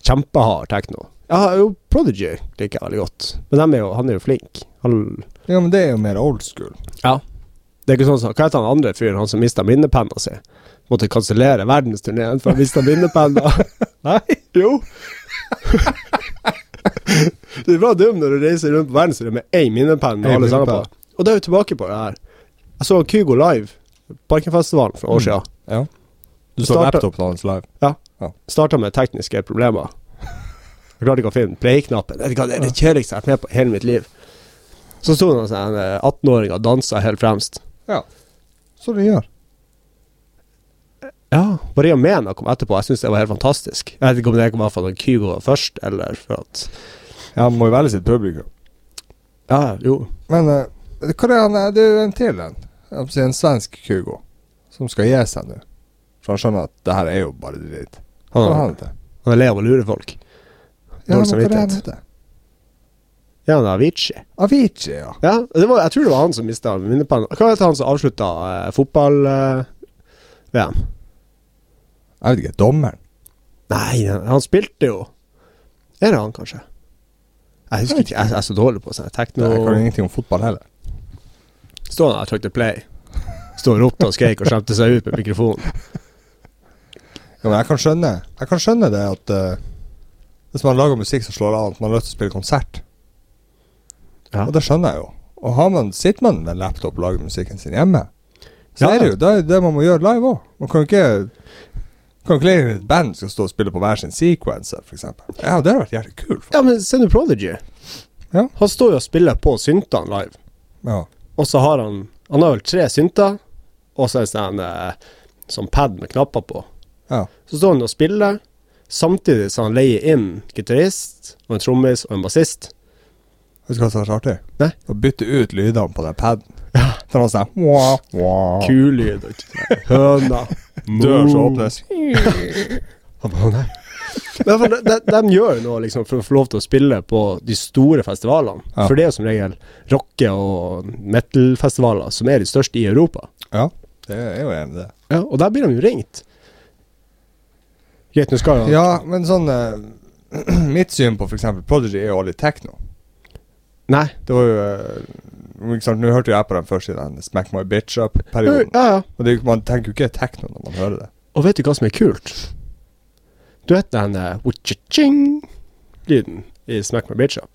kjempehard tekno. Ja, jo, Prodigy liker jeg veldig godt, men dem er jo, han er jo flink. Han, Ja, men det er jo mer old school. det er ikke sånn som Hva heter han andre fyren, han som mista minnepenna si? Måtte kansellere verdensturneen for å miste minnepenna. Nei? Jo. du er bra dum når du reiser rundt på verdensrommet med én minnepenn med Én alle sanger på. minnepenn. Og da er vi tilbake på det her. Jeg så Kygo live, Parkenfestivalen for noen år Mm. siden. Ja. Du så Starta- laptopen hans live. Starta med tekniske problemer. Jeg klarte ikke å finne play-knappen. Vet du hva, Det er det kjedeligste jeg har vært med på i hele mitt liv. Så sto det en 18-åring eh, og dansa helt fremst. Så det gjør. Ja, Maria Mena kom etterpå. Jeg syns det var helt fantastisk. Jeg vet ikke om det var for at Kygo var først, eller for at Ja, han må jo velge sitt publikum. Ja, jo. Men eh, hva er det han eh, Det er jo en til en. Jeg holdt på å si En svensk Kygo. Som skal gi seg nå. For han skjønner at det her er jo bare dritt. Hva er Han, han heter? han er lei av å lure folk. Ja, Dårlig men hva er det samvittighet. han heter? Ja, det er Avicii. Avicii, ja. Ja, det var, jeg tror det var han som mista minnepennen. Hva het han som eh, avslutta fotball-VM? eh, Jeg vet ikke. Dommeren? Nei, han han spilte jo Er det han, kanskje? Jeg husker ikke, jeg, jeg er så dårlig på sånn tekno... Jeg kan ingenting om fotball heller. Står han der og trykte play? Står og ropte og skrek og skjemte seg ut med mikrofonen. Ja, men jeg kan skjønne Jeg kan skjønne det at eh, Hvis man lager musikk som slår an, at man har lyst til å spille konsert. Ja. Og det skjønner jeg jo. Og har man, sitter man med en laptop og lager musikken sin hjemme, Så Ja, er det ja. jo det, er jo det man må gjøre live òg. Man kan ikke kan ikke leve i et band som skal stå og spille på hver sin sequencer, f.eks. Ja, det hadde vært jævlig kult. Ja, men se nå Prodigy. Ja. Han står jo og spiller på syntene live. Ja. Og så har han Han har vel tre synter, og så er det sånn eh, sånn pad med knapper på. ja. Så står han og spiller, samtidig som han leier inn gitarist og en trommis og en bassist. Vet du hva som er så artig? Nei. Å bytte ut lydene på den paden. Den var sånn wah, wah. Kulyd og høna. [LAUGHS] Dør som Mo. [LAUGHS] åpnes. Han bare, «Å, nei. Men for de, de, de gjør jo noe liksom, for å få lov til å spille på de store festivalene. Ja. For det er jo som regel rocke- og metal-festivaler som er de største i Europa. Ja, det er jo enig i det. Ja, og der blir de jo ringt. Greit, nå skal jo Ja, men sånn eh, [CLEARS THROAT] Mitt syn på f.eks. Prodigy er jo også litt techno. Nei. Det var jo eh, ikke sant, Nå hørte jo jeg på den først i den Smack My Bitch Ja, Up-perioden. ja. Og det, er jo- Man tenker jo ikke techno når man hører det. Og vet du hva som er kult? Du vet den eh, «wuchaching»-lyden i Smack My Bitch Up?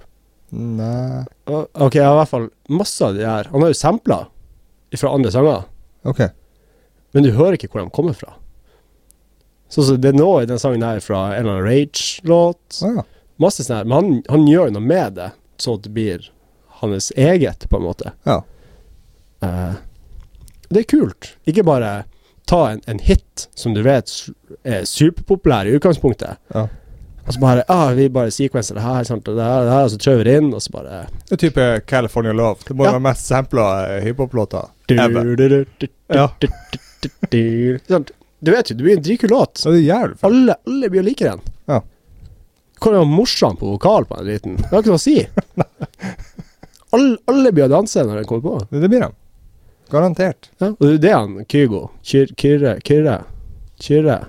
Nei Og- Ok, jeg har i hvert fall masse av de her. Han har jo sampler fra andre sanger, Ok. men du hører ikke hvor de kommer fra. Så, så det er noe i den sangen her fra en eller annen Rage-låt. Å ja. Masse sånn her. Men han, han gjør noe med det, så det blir hans eget, på en måte. ja. Eh, det er kult. Ikke bare ta en, en hit som du vet s- er superpopulær i utgangspunktet, ja. og så bare ah, Vi bare sequencer det her, sant, og det her, det her, og så kjører vi det inn, og så bare Det er type California Love. Det må Ja. være mest sampla eh, hiphop-låter. Du, ever. du, du, du, Ja. du, du, du, du. Sant? Du vet jo, det blir en dritkul låt. Så det er jævlig fett. Alle, alle blir å like den. Ja. Hvor er han morsom på vokal på den driten? Det har ikke noe å si. [LAUGHS] alle, alle blir å danse når den kommer på. Det, det blir de. Garantert. Ja? Og det er jo det han Kygo Kyr- Kyrre Kyrre Kyrre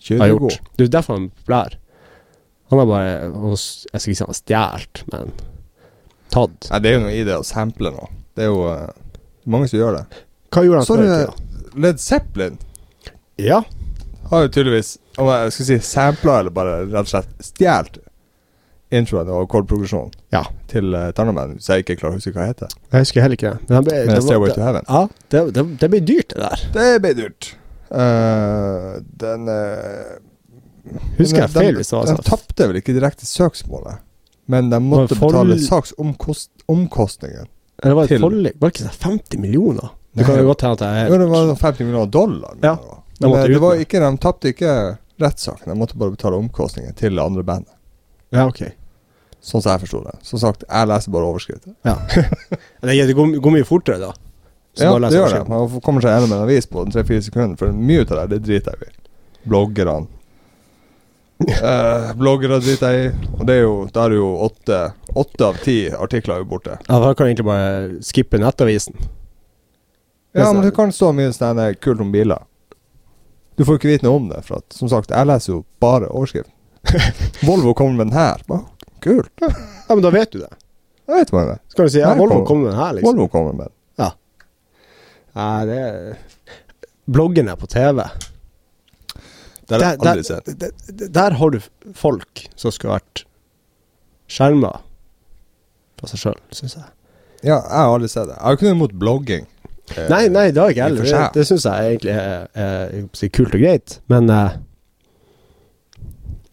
Kjører har du gjort. god. Det er jo derfor han er populær. Han har bare han, s- Jeg skal ikke si han har stjålet, men tatt. Nei, det er jo noe i det å sample nå. Det er jo eh, mange som gjør det. Hva gjorde han Så før du i tida? Led Zeppelin eh, Ja. har jo tydeligvis om jeg skal si sampla eller bare rett og slett stjålet introen og akkordprogresjonen Ja. til uh, Tannerman, så jeg ikke klarer å huske hva det heter. Jeg husker heller ikke det. Men han ble- Men Eh, det var- Stairway det- to Heaven. Ja, det, det, det blir dyrt, det der. Det ble dyrt. Eh, den eh, Husker den- jeg feil den- hvis det var Den sånn. tapte vel ikke direkte søksmålet, men de var måtte for- betale saksomkostningen. Eller var det et til- forlik? Var det ikke sånn 50 millioner? Det kan Nei. jo godt hende at jeg Jo, det var sånn 50 millioner dollar. mener Ja, jeg det var. de Men måtte eh, ut det var med. ikke, de tapte ikke rettssaken, de måtte bare betale omkostningen til det andre bandet. Ja, ok. Sånn som jeg forsto det. Som sagt, jeg leser bare overskriften. [LAUGHS] Det, det går, går mye fortere, da. Så Ja, bare det leser gjør det. overskriften. Man kommer seg gjennom en avis på en tre-fire sekunder, for mye ut av det, det driter jeg i. [LAUGHS] Bloggerne. Eh, bloggere driter jeg i. Og det er jo, da er det jo åtte, åtte av ti artikler er jo borte. Ja, da kan jeg egentlig bare skippe nettavisen. Ja, men det kan stå mye sånn her kult om biler. Du får ikke vite noe om det, for at, som sagt, jeg leser jo bare overskriften. [LAUGHS] Volvo kommer med den her. Bare, kult. Ja, men da vet du det. Jeg vet man det. Så kan du si ja, Nei, Volvo kom- kom med den her, liksom. Volvo kommer med den. Nei, det er Bloggene på TV. Det har jeg Der- aldri sett. der, der, der har du f- folk som skulle vært skjerma fra seg sjøl, syns jeg. Ja, jeg har aldri sett det. Jeg har ikke noe imot blogging. Eh, Nei, nei, det har jeg ikke i heller. for Det, seg. det syns jeg egentlig er, er, jeg holdt på å si kult og greit, men eh,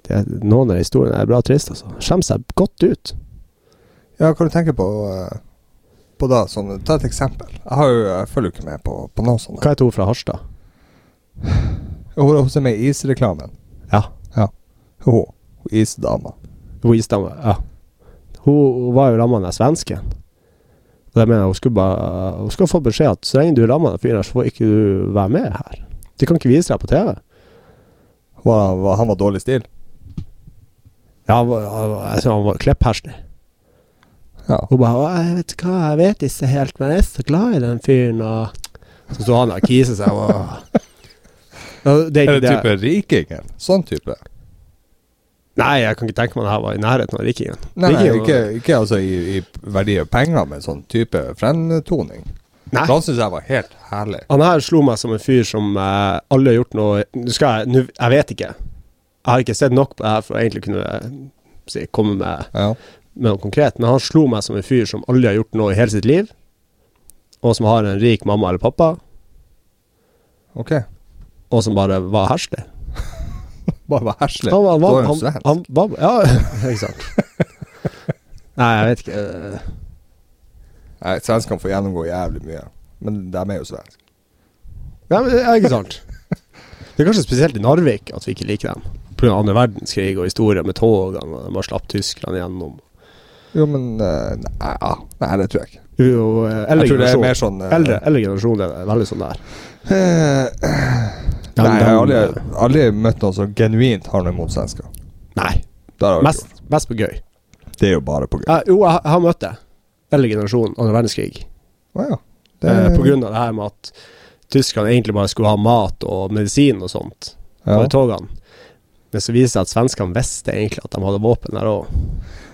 det, er- noen av historiene er bra trist, altså. Skjemmer seg godt ut. Ja, hva du tenker på eh, På da, sånn, Ta et eksempel. Jeg, har jo, jeg følger jo ikke med på, på noe sånt. Hva heter hun fra Harstad? Hun er også med i isreklamen. Ja. Hun. hun Isdama. Hun isdame, ja. Hun, hun var jo ramma av den svensken. Og jeg mener, hun skulle bare Hun skulle fått beskjed at så lenge du er ramma av den fyren her, så får ikke du være med her. De kan ikke vise deg på TV. Hun var- var- Han var dårlig stil. Ja, han var- han var- jeg synes han var klepphersler. Ja. Hun bare «Å, 'Jeg vet hva, jeg vet ikke helt, men jeg er så glad i den fyren', og Så sto han der og kiste seg og Ja, Det er Er ikke det det. type rikingen? Sånn type? Nei, jeg kan ikke tenke meg det her var i nærheten av rikingen. Nei, nei Rikingen var- ikke, ikke altså i, i verdi av penger, men sånn type fremtoning. Nei. For Han syns jeg var helt herlig. Han her slo meg som en fyr som eh, alle har gjort noe Nå skal jeg, nå, jeg vet ikke. Jeg har ikke sett nok på det her for å egentlig kunne eh, si, komme med, Ja. med noe konkret, men han slo meg som en fyr som aldri har gjort noe i hele sitt liv. og som har en rik mamma eller pappa, Ok. og som bare var herselig. Bare vær herselig. Han var, Da var, er de han, svensk. han var Ja, [LAUGHS] ikke sant. Nei, jeg vet ikke. eh, Nei, svenskene får gjennomgå jævlig mye. Men de er jo svenske. Nei, men det er ikke sant. Det er kanskje spesielt i Narvik at vi ikke liker dem. Pga. andre verdenskrig og historier med togene, og man slapp Tyskland gjennom. Jo, men eh, nei, ja. nei, det tror jeg ikke. Du er jo, eh, Eldre Jeg tror det er generasjon. mer sånn eh, Eldre, eldre generasjon er det veldig sånn der. eh, Ja, Nei, men eh, jeg har de- aldri, aldri møtt noen som genuint har noe imot svensker. Nei. Det har jeg aldri Mest, mest på gøy. gjort. Det er jo bare på grunn Eh, jo, jeg, har- jeg har møtt det. Eldre generasjon, andre verdenskrig. Å ja. Det Eh, på grunn av det her med at tyskerne egentlig bare skulle ha mat og medisin og sånt på de ja. togene. Men så viser det seg at svenskene visste egentlig at de hadde våpen der òg.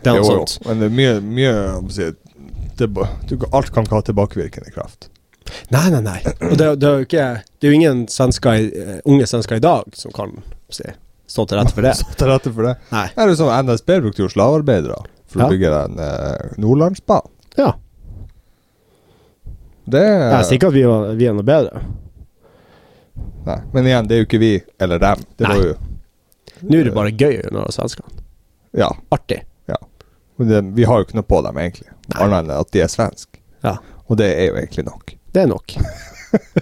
Det er altså Jo, noe jo. sånt. Men det er mye, mye om å si, det, er ba- du, Alt kan ikke ha tilbakevirkende kraft. Nei, nei, nei. Og det, det, er jo ikke, det er jo ingen svensker, i- eh, unge svensker i dag som kan si, stå til rette for [LAUGHS] det. Så til rette for det. Nei. Her er det sånn NSB brukte jo slavearbeidere for Ja. å bygge den eh, Nordlandsbanen. Ja. Det Jeg er sikker at vi, var, vi er noe bedre. Nei. Men igjen, det er jo ikke vi eller dem. Det Nei. var jo Nå er det bare gøy når det er svenskene. Ja. Artig. Men det, vi har jo ikke noe på dem, egentlig. Nei. Annet enn at de er svenske. Ja. Og det er jo egentlig nok. Det er nok.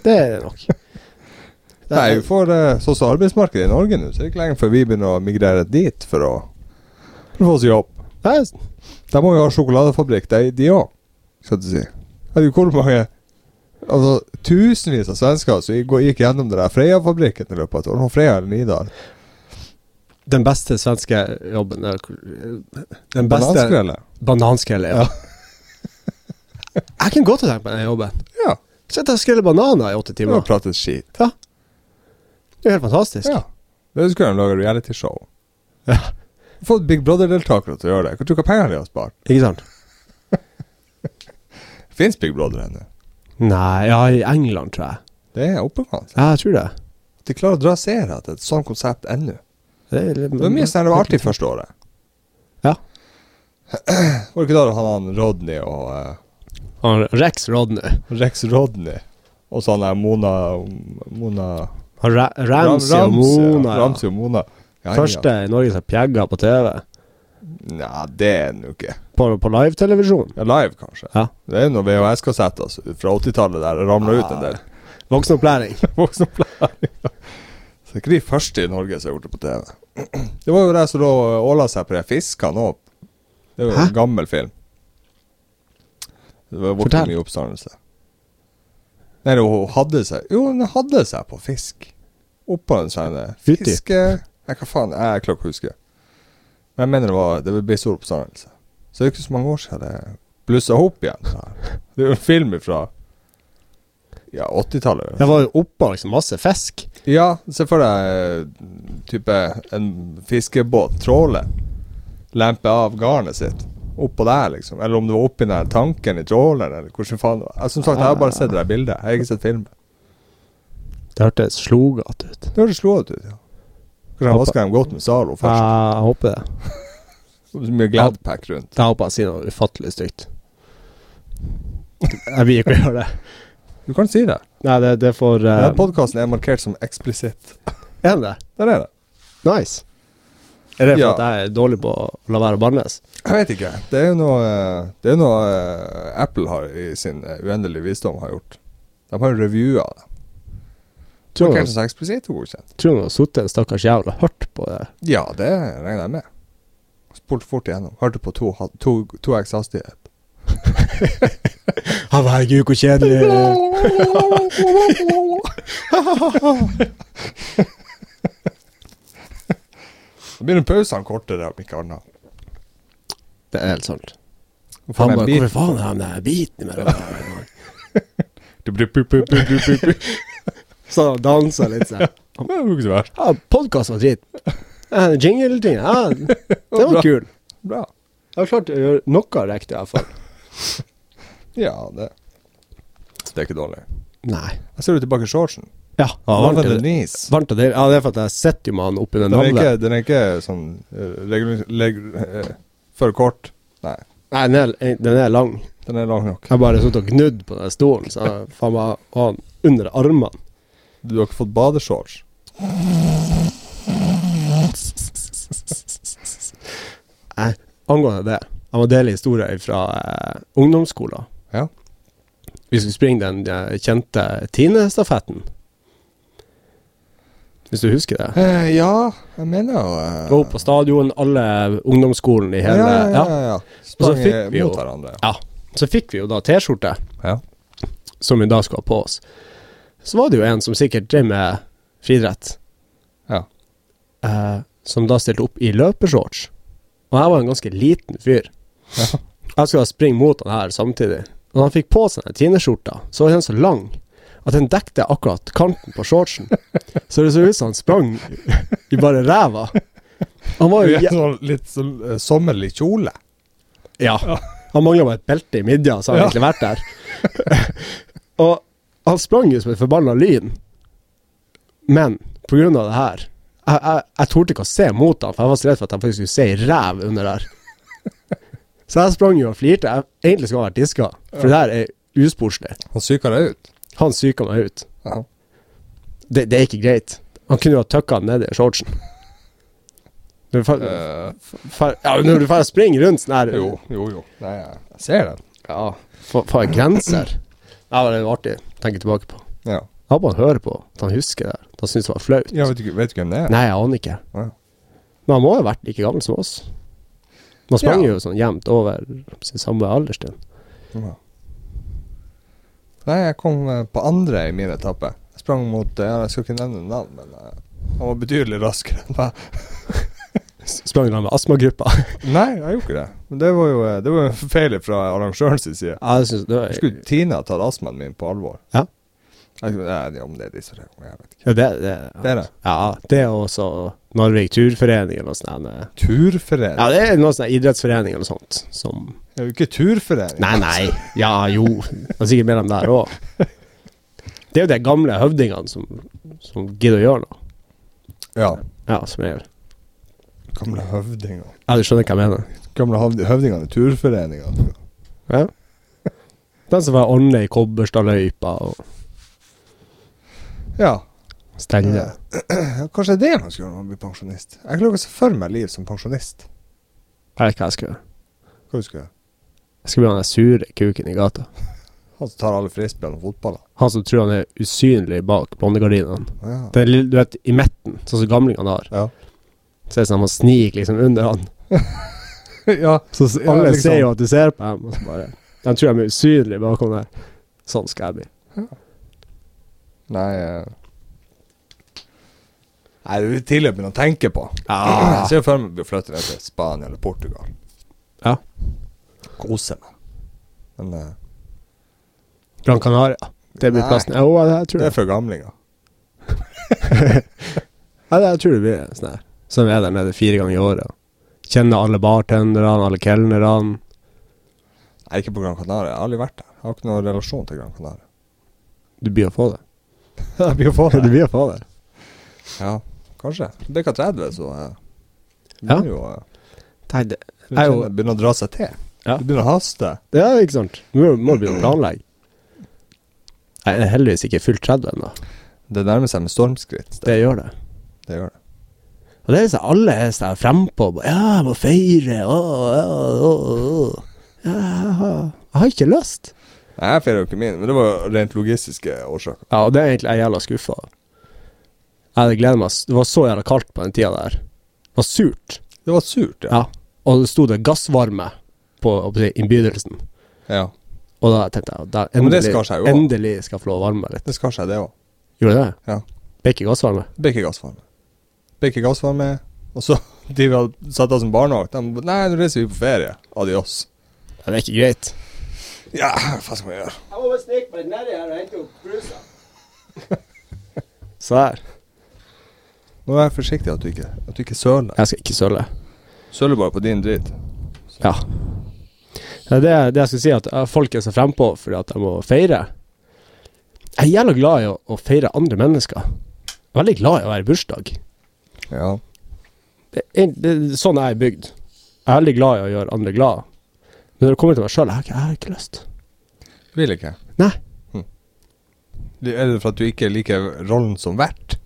Det er nok. Det Nei, er, vi får eh, sånn som arbeidsmarkedet i Norge nå, så er det ikke lenge før vi begynner å migrere dit for å, for å få oss jobb. nei, De må jo ha sjokoladefabrikk, de, de òg, skal du si. Vet du hvor mange Altså, tusenvis av svensker som gikk gikk gjennom den der Freia-fabrikken i løpet av et år. Nå Freia eller Nidar. den beste svenske jobben er- Den beste Bananskrellet. bananskrellet. Ja. [LAUGHS] jeg kan godt tenke meg den jobben. Ja. Sitte og skrelle bananer i åtte Det var timer. pratet skit. Det er helt fantastisk. Ja. Det skulle de lage realityshow. Ja. Fått Big Brother-deltakere til å gjøre det. Hva tror du hva pengene de har spart? Ikke sant? Fins Big Brother ennå? Nei, ja, i England, tror jeg. Det er oppegående. Ja, jeg tror det. De klarer å dra seere til et sånt konsept ennå. Det er, litt- Det var mye sånn det liksom. var artig første året. Ja. Var det ikke da du hadde han Rodney og eh, Han Rex Rodney. Rex Rodney og sånn der Mona Mona Han Ra Ramsey Ram- og Mona. Ja. Ramsey og Mona. Ja, Første i Norge som pjegga på TV. Ja. Nja, det er den jo ikke. På, på live-televisjon. Ja, live, kanskje. Ja. Det er jo noen VHS-kassetter altså, fra 80-tallet der det ramla ut en del. Voksenopplæring. [LAUGHS] voksenopplæring. Så det er ikke de første i Norge som har gjort det på TV. [CLEARS THROAT] Det var jo det som lå og åla seg på de fiskene òg. Det var jo Hæ? en gammel film. Det var vokste Fortell. mye oppstandelse. Nei, det var- hun hadde seg Jo, hun hadde seg på fisk. Oppå en sånn Fytti. fiske... Nei, hva faen? Jeg klarer ikke å huske. Men jeg mener det var Det ble stor oppstandelse. Så det er jo ikke så mange år siden det blussa opp igjen. det her. Det er jo en film fra ja, 80-tallet. eller Jeg var jo oppe av liksom masse fisk. ja, se for deg eh, type en fiskebåt, tråle. Lempe av garnet sitt. Oppå der, liksom. Eller om det var oppi den her tanken i tråleren, eller hvordan faen det var. Jeg- Som sagt, jeg har bare sett det der bildet. Jeg har ikke sett filmen. Det hørtes slogete ut. Det hørtes slående ut, ja. Kanskje han vaska dem godt med Zalo først. Jeg håper det. Så mye Gladpack rundt. Jeg håper jeg sier noe ufattelig stygt. Jeg vil ikke gjøre det. Du kan si det. Nei, det, det får eh, Denne podkasten er markert som eksplisitt. Er det det? Der er det. Nice. Er det for Ja. at jeg er dårlig på å la være å bannes? Jeg vet ikke. Det er jo noe, eh, det er noe eh, Apple har i sin eh, uendelige visdom har gjort. De har jo revua det. Tror du Markert som eksplisitt og godkjent. tror du han har sittet en stakkars jævel og hørt på det? Ja, det regner jeg med. Spolt fort igjennom. Hørte på to, ha- to, to [LAUGHS] x hastighet. Å, herregud, hvor kjedelig. Da blir pausene kortere, om ikke annet. [LAUGHS] Det er helt sant. Får Han meg en bare, bit. hvorfor faen har de den biten med det? [LAUGHS] Så han dansa litt sånn. [LAUGHS] Det var jo ikke så verst. [LAUGHS] Ja, podkast var dritt. Ja, Jingle-ting, ja. [LAUGHS] Det var Bra. kul. Bra. Jeg har klart å gjøre noe riktig, i hvert fall. Ja, det Det er ikke dårlig. Nei. Jeg ser du tilbake i shortsen. Ja, varmt, Varmt og enn det- is. varmt og deilig. Ja, det er for at jeg sitter jo med han oppi den Den er navlen. ikke, den er ikke sånn eh, regul- leg- eh, for kort. Nei. Nei, den er, den er lang. Den er lang nok. Jeg har bare satt og gnudd på den stolen, så jeg faen meg har den under armene. Du har ikke fått badeshorts? Nei, angående det. Jeg må dele historier fra eh, ungdomsskolen. Ja. Vi skulle springe den eh, kjente Tine-stafetten. Hvis du husker det. Eh, ja, jeg mener jo eh, Gå opp på stadion, alle ungdomsskolen i hele ja, ja, ja, ja. ja. så Sprang fikk eh, vi jo- mot hverandre. Så fikk vi jo da T-skjorte, Ja. som vi da skulle ha på oss. Så var det jo en som sikkert drev med friidrett, Ja. eh, som da stilte opp i løpeshorts. Og jeg var en ganske liten fyr. Ja. Jeg skulle da springe mot han her samtidig. Og han fikk på seg den tineskjorta, så var den så lang at den dekte akkurat kanten på shortsen. Så det så ut som han sprang i bare ræva. Han var jo Du er jæ- sånn litt sånn eh, sommerlig kjole. Ja. Han mangla bare et belte i midja, så har han Ja. egentlig vært der. [LAUGHS] og han sprang jo som et forbanna lyn. Men på grunn av det her Jeg, jeg, jeg torde ikke å se mot han, for jeg var så redd for at han faktisk skulle se ei ræv under [LAUGHS] der. Så jeg sprang jo og flirte. Jeg egentlig skulle ha vært diska, for det her er usportslig. Han psyka deg ut. Han psyka meg ut. Ja. Det, det er ikke greit. Han kunne jo ha tøkka den ned i shortsen. Når du fer, Eh, fer, ja, når du fer springer rundt sånn her jo, jo, jo. Nei, jeg jeg ser den. Ja, for, for grenser. Ja, det er jo artig å tenke tilbake på. Ja. Jeg håper han hører på, at han husker det. At han syns det var flaut. Jeg vet, ikke, vet du hvem det er? Nei, jeg aner ikke. Ja. Men han må jo ha vært like gammel som oss. Man sprang Ja. jo sånn jevnt over sin samme alderstid. Ja. Nei, jeg kom eh, på andre i min etappe. Jeg sprang mot eh, ja, Jeg skal ikke nevne navn, men eh, han var betydelig raskere enn meg. S- Sprang han med astmagruppa? Nei, jeg gjorde ikke det. Men det var jo eh, det var jo en feil fra arrangørens side. [LAUGHS] Ja, jeg synes det Jeg var Skulle Tina tatt astmaen min på alvor? Ja. Jeg, skulle- nei, det- om det er de som regner, jeg vet ikke. ja, det, det, Det er det. Ja, det er også Narvik turforening eller noe sånt. eh. Turforening? Ja, det er noe sånt idrettsforening eller noe sånt som Det er jo ikke turforening. Nei, nei. Ja, jo. Det er sikkert mellom der òg. Det er jo de gamle høvdingene som, som gidder å gjøre noe. Ja. Ja, som regel. Gamle høvdinger. Ja, du skjønner hva jeg mener. Gamle høvd- høvdingene i turforeninga. Ja. Den som var ordne i Kobberstadløypa og Ja. stelle. Eh, Kanskje det er det man skal gjøre når man blir pensjonist. Jeg klarer ikke å se for meg liv som pensjonist. Jeg vet ikke hva jeg skal gjøre. Hva husker jeg? Jeg skal bli han der sure kuken i gata. Han som tar alle frisbeene og fotballene. Han som tror han er usynlig bak blondegardinene. Ja. Den lille, du vet, i midten, sånn som gamlingene har. Ja. [LAUGHS] Så er det sånn at man sniker liksom under han. ja. Så s- alle liksom. ser jo at du ser på dem, og så bare De tror de er usynlige bakom der. Sånn skal jeg bli. Nei eh. Nei, det er litt tidlig å begynne å tenke på. Ah. Jeg ser for meg å flytte ned til Spania eller Portugal. Ja. Kose meg. Men eh, Gran Canaria. Det blir Nei. plassen. Jo, ja, jeg tror det det. er for gamlinger. Ja, det- jeg tror det blir sånn her. Som er der nede fire ganger i året. Kjenner alle bartenderne, alle kelnerne. Nei, ikke på Gran Canaria. Jeg har aldri vært der. Jeg har ikke noen relasjon til Gran [LAUGHS] Canaria. Du blir å få det. Jeg blir få Du blir å få det. Ja, kanskje. Bikka 30, så eh, Ja. begynner jo, eh, Nei, det du Jeg er jo- kjenner- begynner å dra seg til. Ja. Du begynner å haste. Ja, ikke sant. Du må, må begynne å planlegge. Jeg er heldigvis ikke fylt 30 ennå. Det nærmer seg med stormskritt. Det, Det gjør det. det gjør det. Og det er liksom alle er sånn frempå. bare, Ja, jeg må feire. Å, å, å, å. Ja, jeg har- jeg har ikke lyst. Nei, jeg feirer jo ikke min, men det var jo rent logistiske årsaker. Ja, og det er egentlig jeg er jævla skuffa. Jeg hadde gledet meg. s- Det var så jævla kaldt på den tida der. Det var surt. Det var surt, ja. Ja. Og det sto det gassvarme på hva skal jeg si, innbydelsen. ja. Og da tenkte jeg da men det endelig, skar seg jo også. endelig skal jeg få lov å varme meg litt. Det skar seg, det òg. Gjorde det? Ja. Ble ikke gassvarme? Det ble ikke gassvarme. Det ble ikke gassvarme, og så [LAUGHS] de vi hadde satt oss som barnevakt, de Nei, nå reiser vi på ferie. Adios. Ja, det er ikke greit. Ja, hva faen skal vi gjøre? Jeg må bare snike meg litt nedi her og hente opp brusa. [LAUGHS] Se her. Må være forsiktig at du ikke, at du ikke søler. Jeg skal ikke søle. Søler bare på din drit. Ja. Det er det, det jeg skulle si, at eh, folk er så frempå fordi at de må feire. Jeg er jævla glad i å, å feire andre mennesker. Jeg er veldig glad i å være i bursdag. Ja. det, er- det, er sånn jeg er bygd. Jeg er veldig glad i å gjøre andre glad. Når det kommer til meg sjøl, jeg, har ikke- jeg har ikke lyst. Vil ikke. Nei. Hm. Det- Er det for at du ikke liker rollen som vert?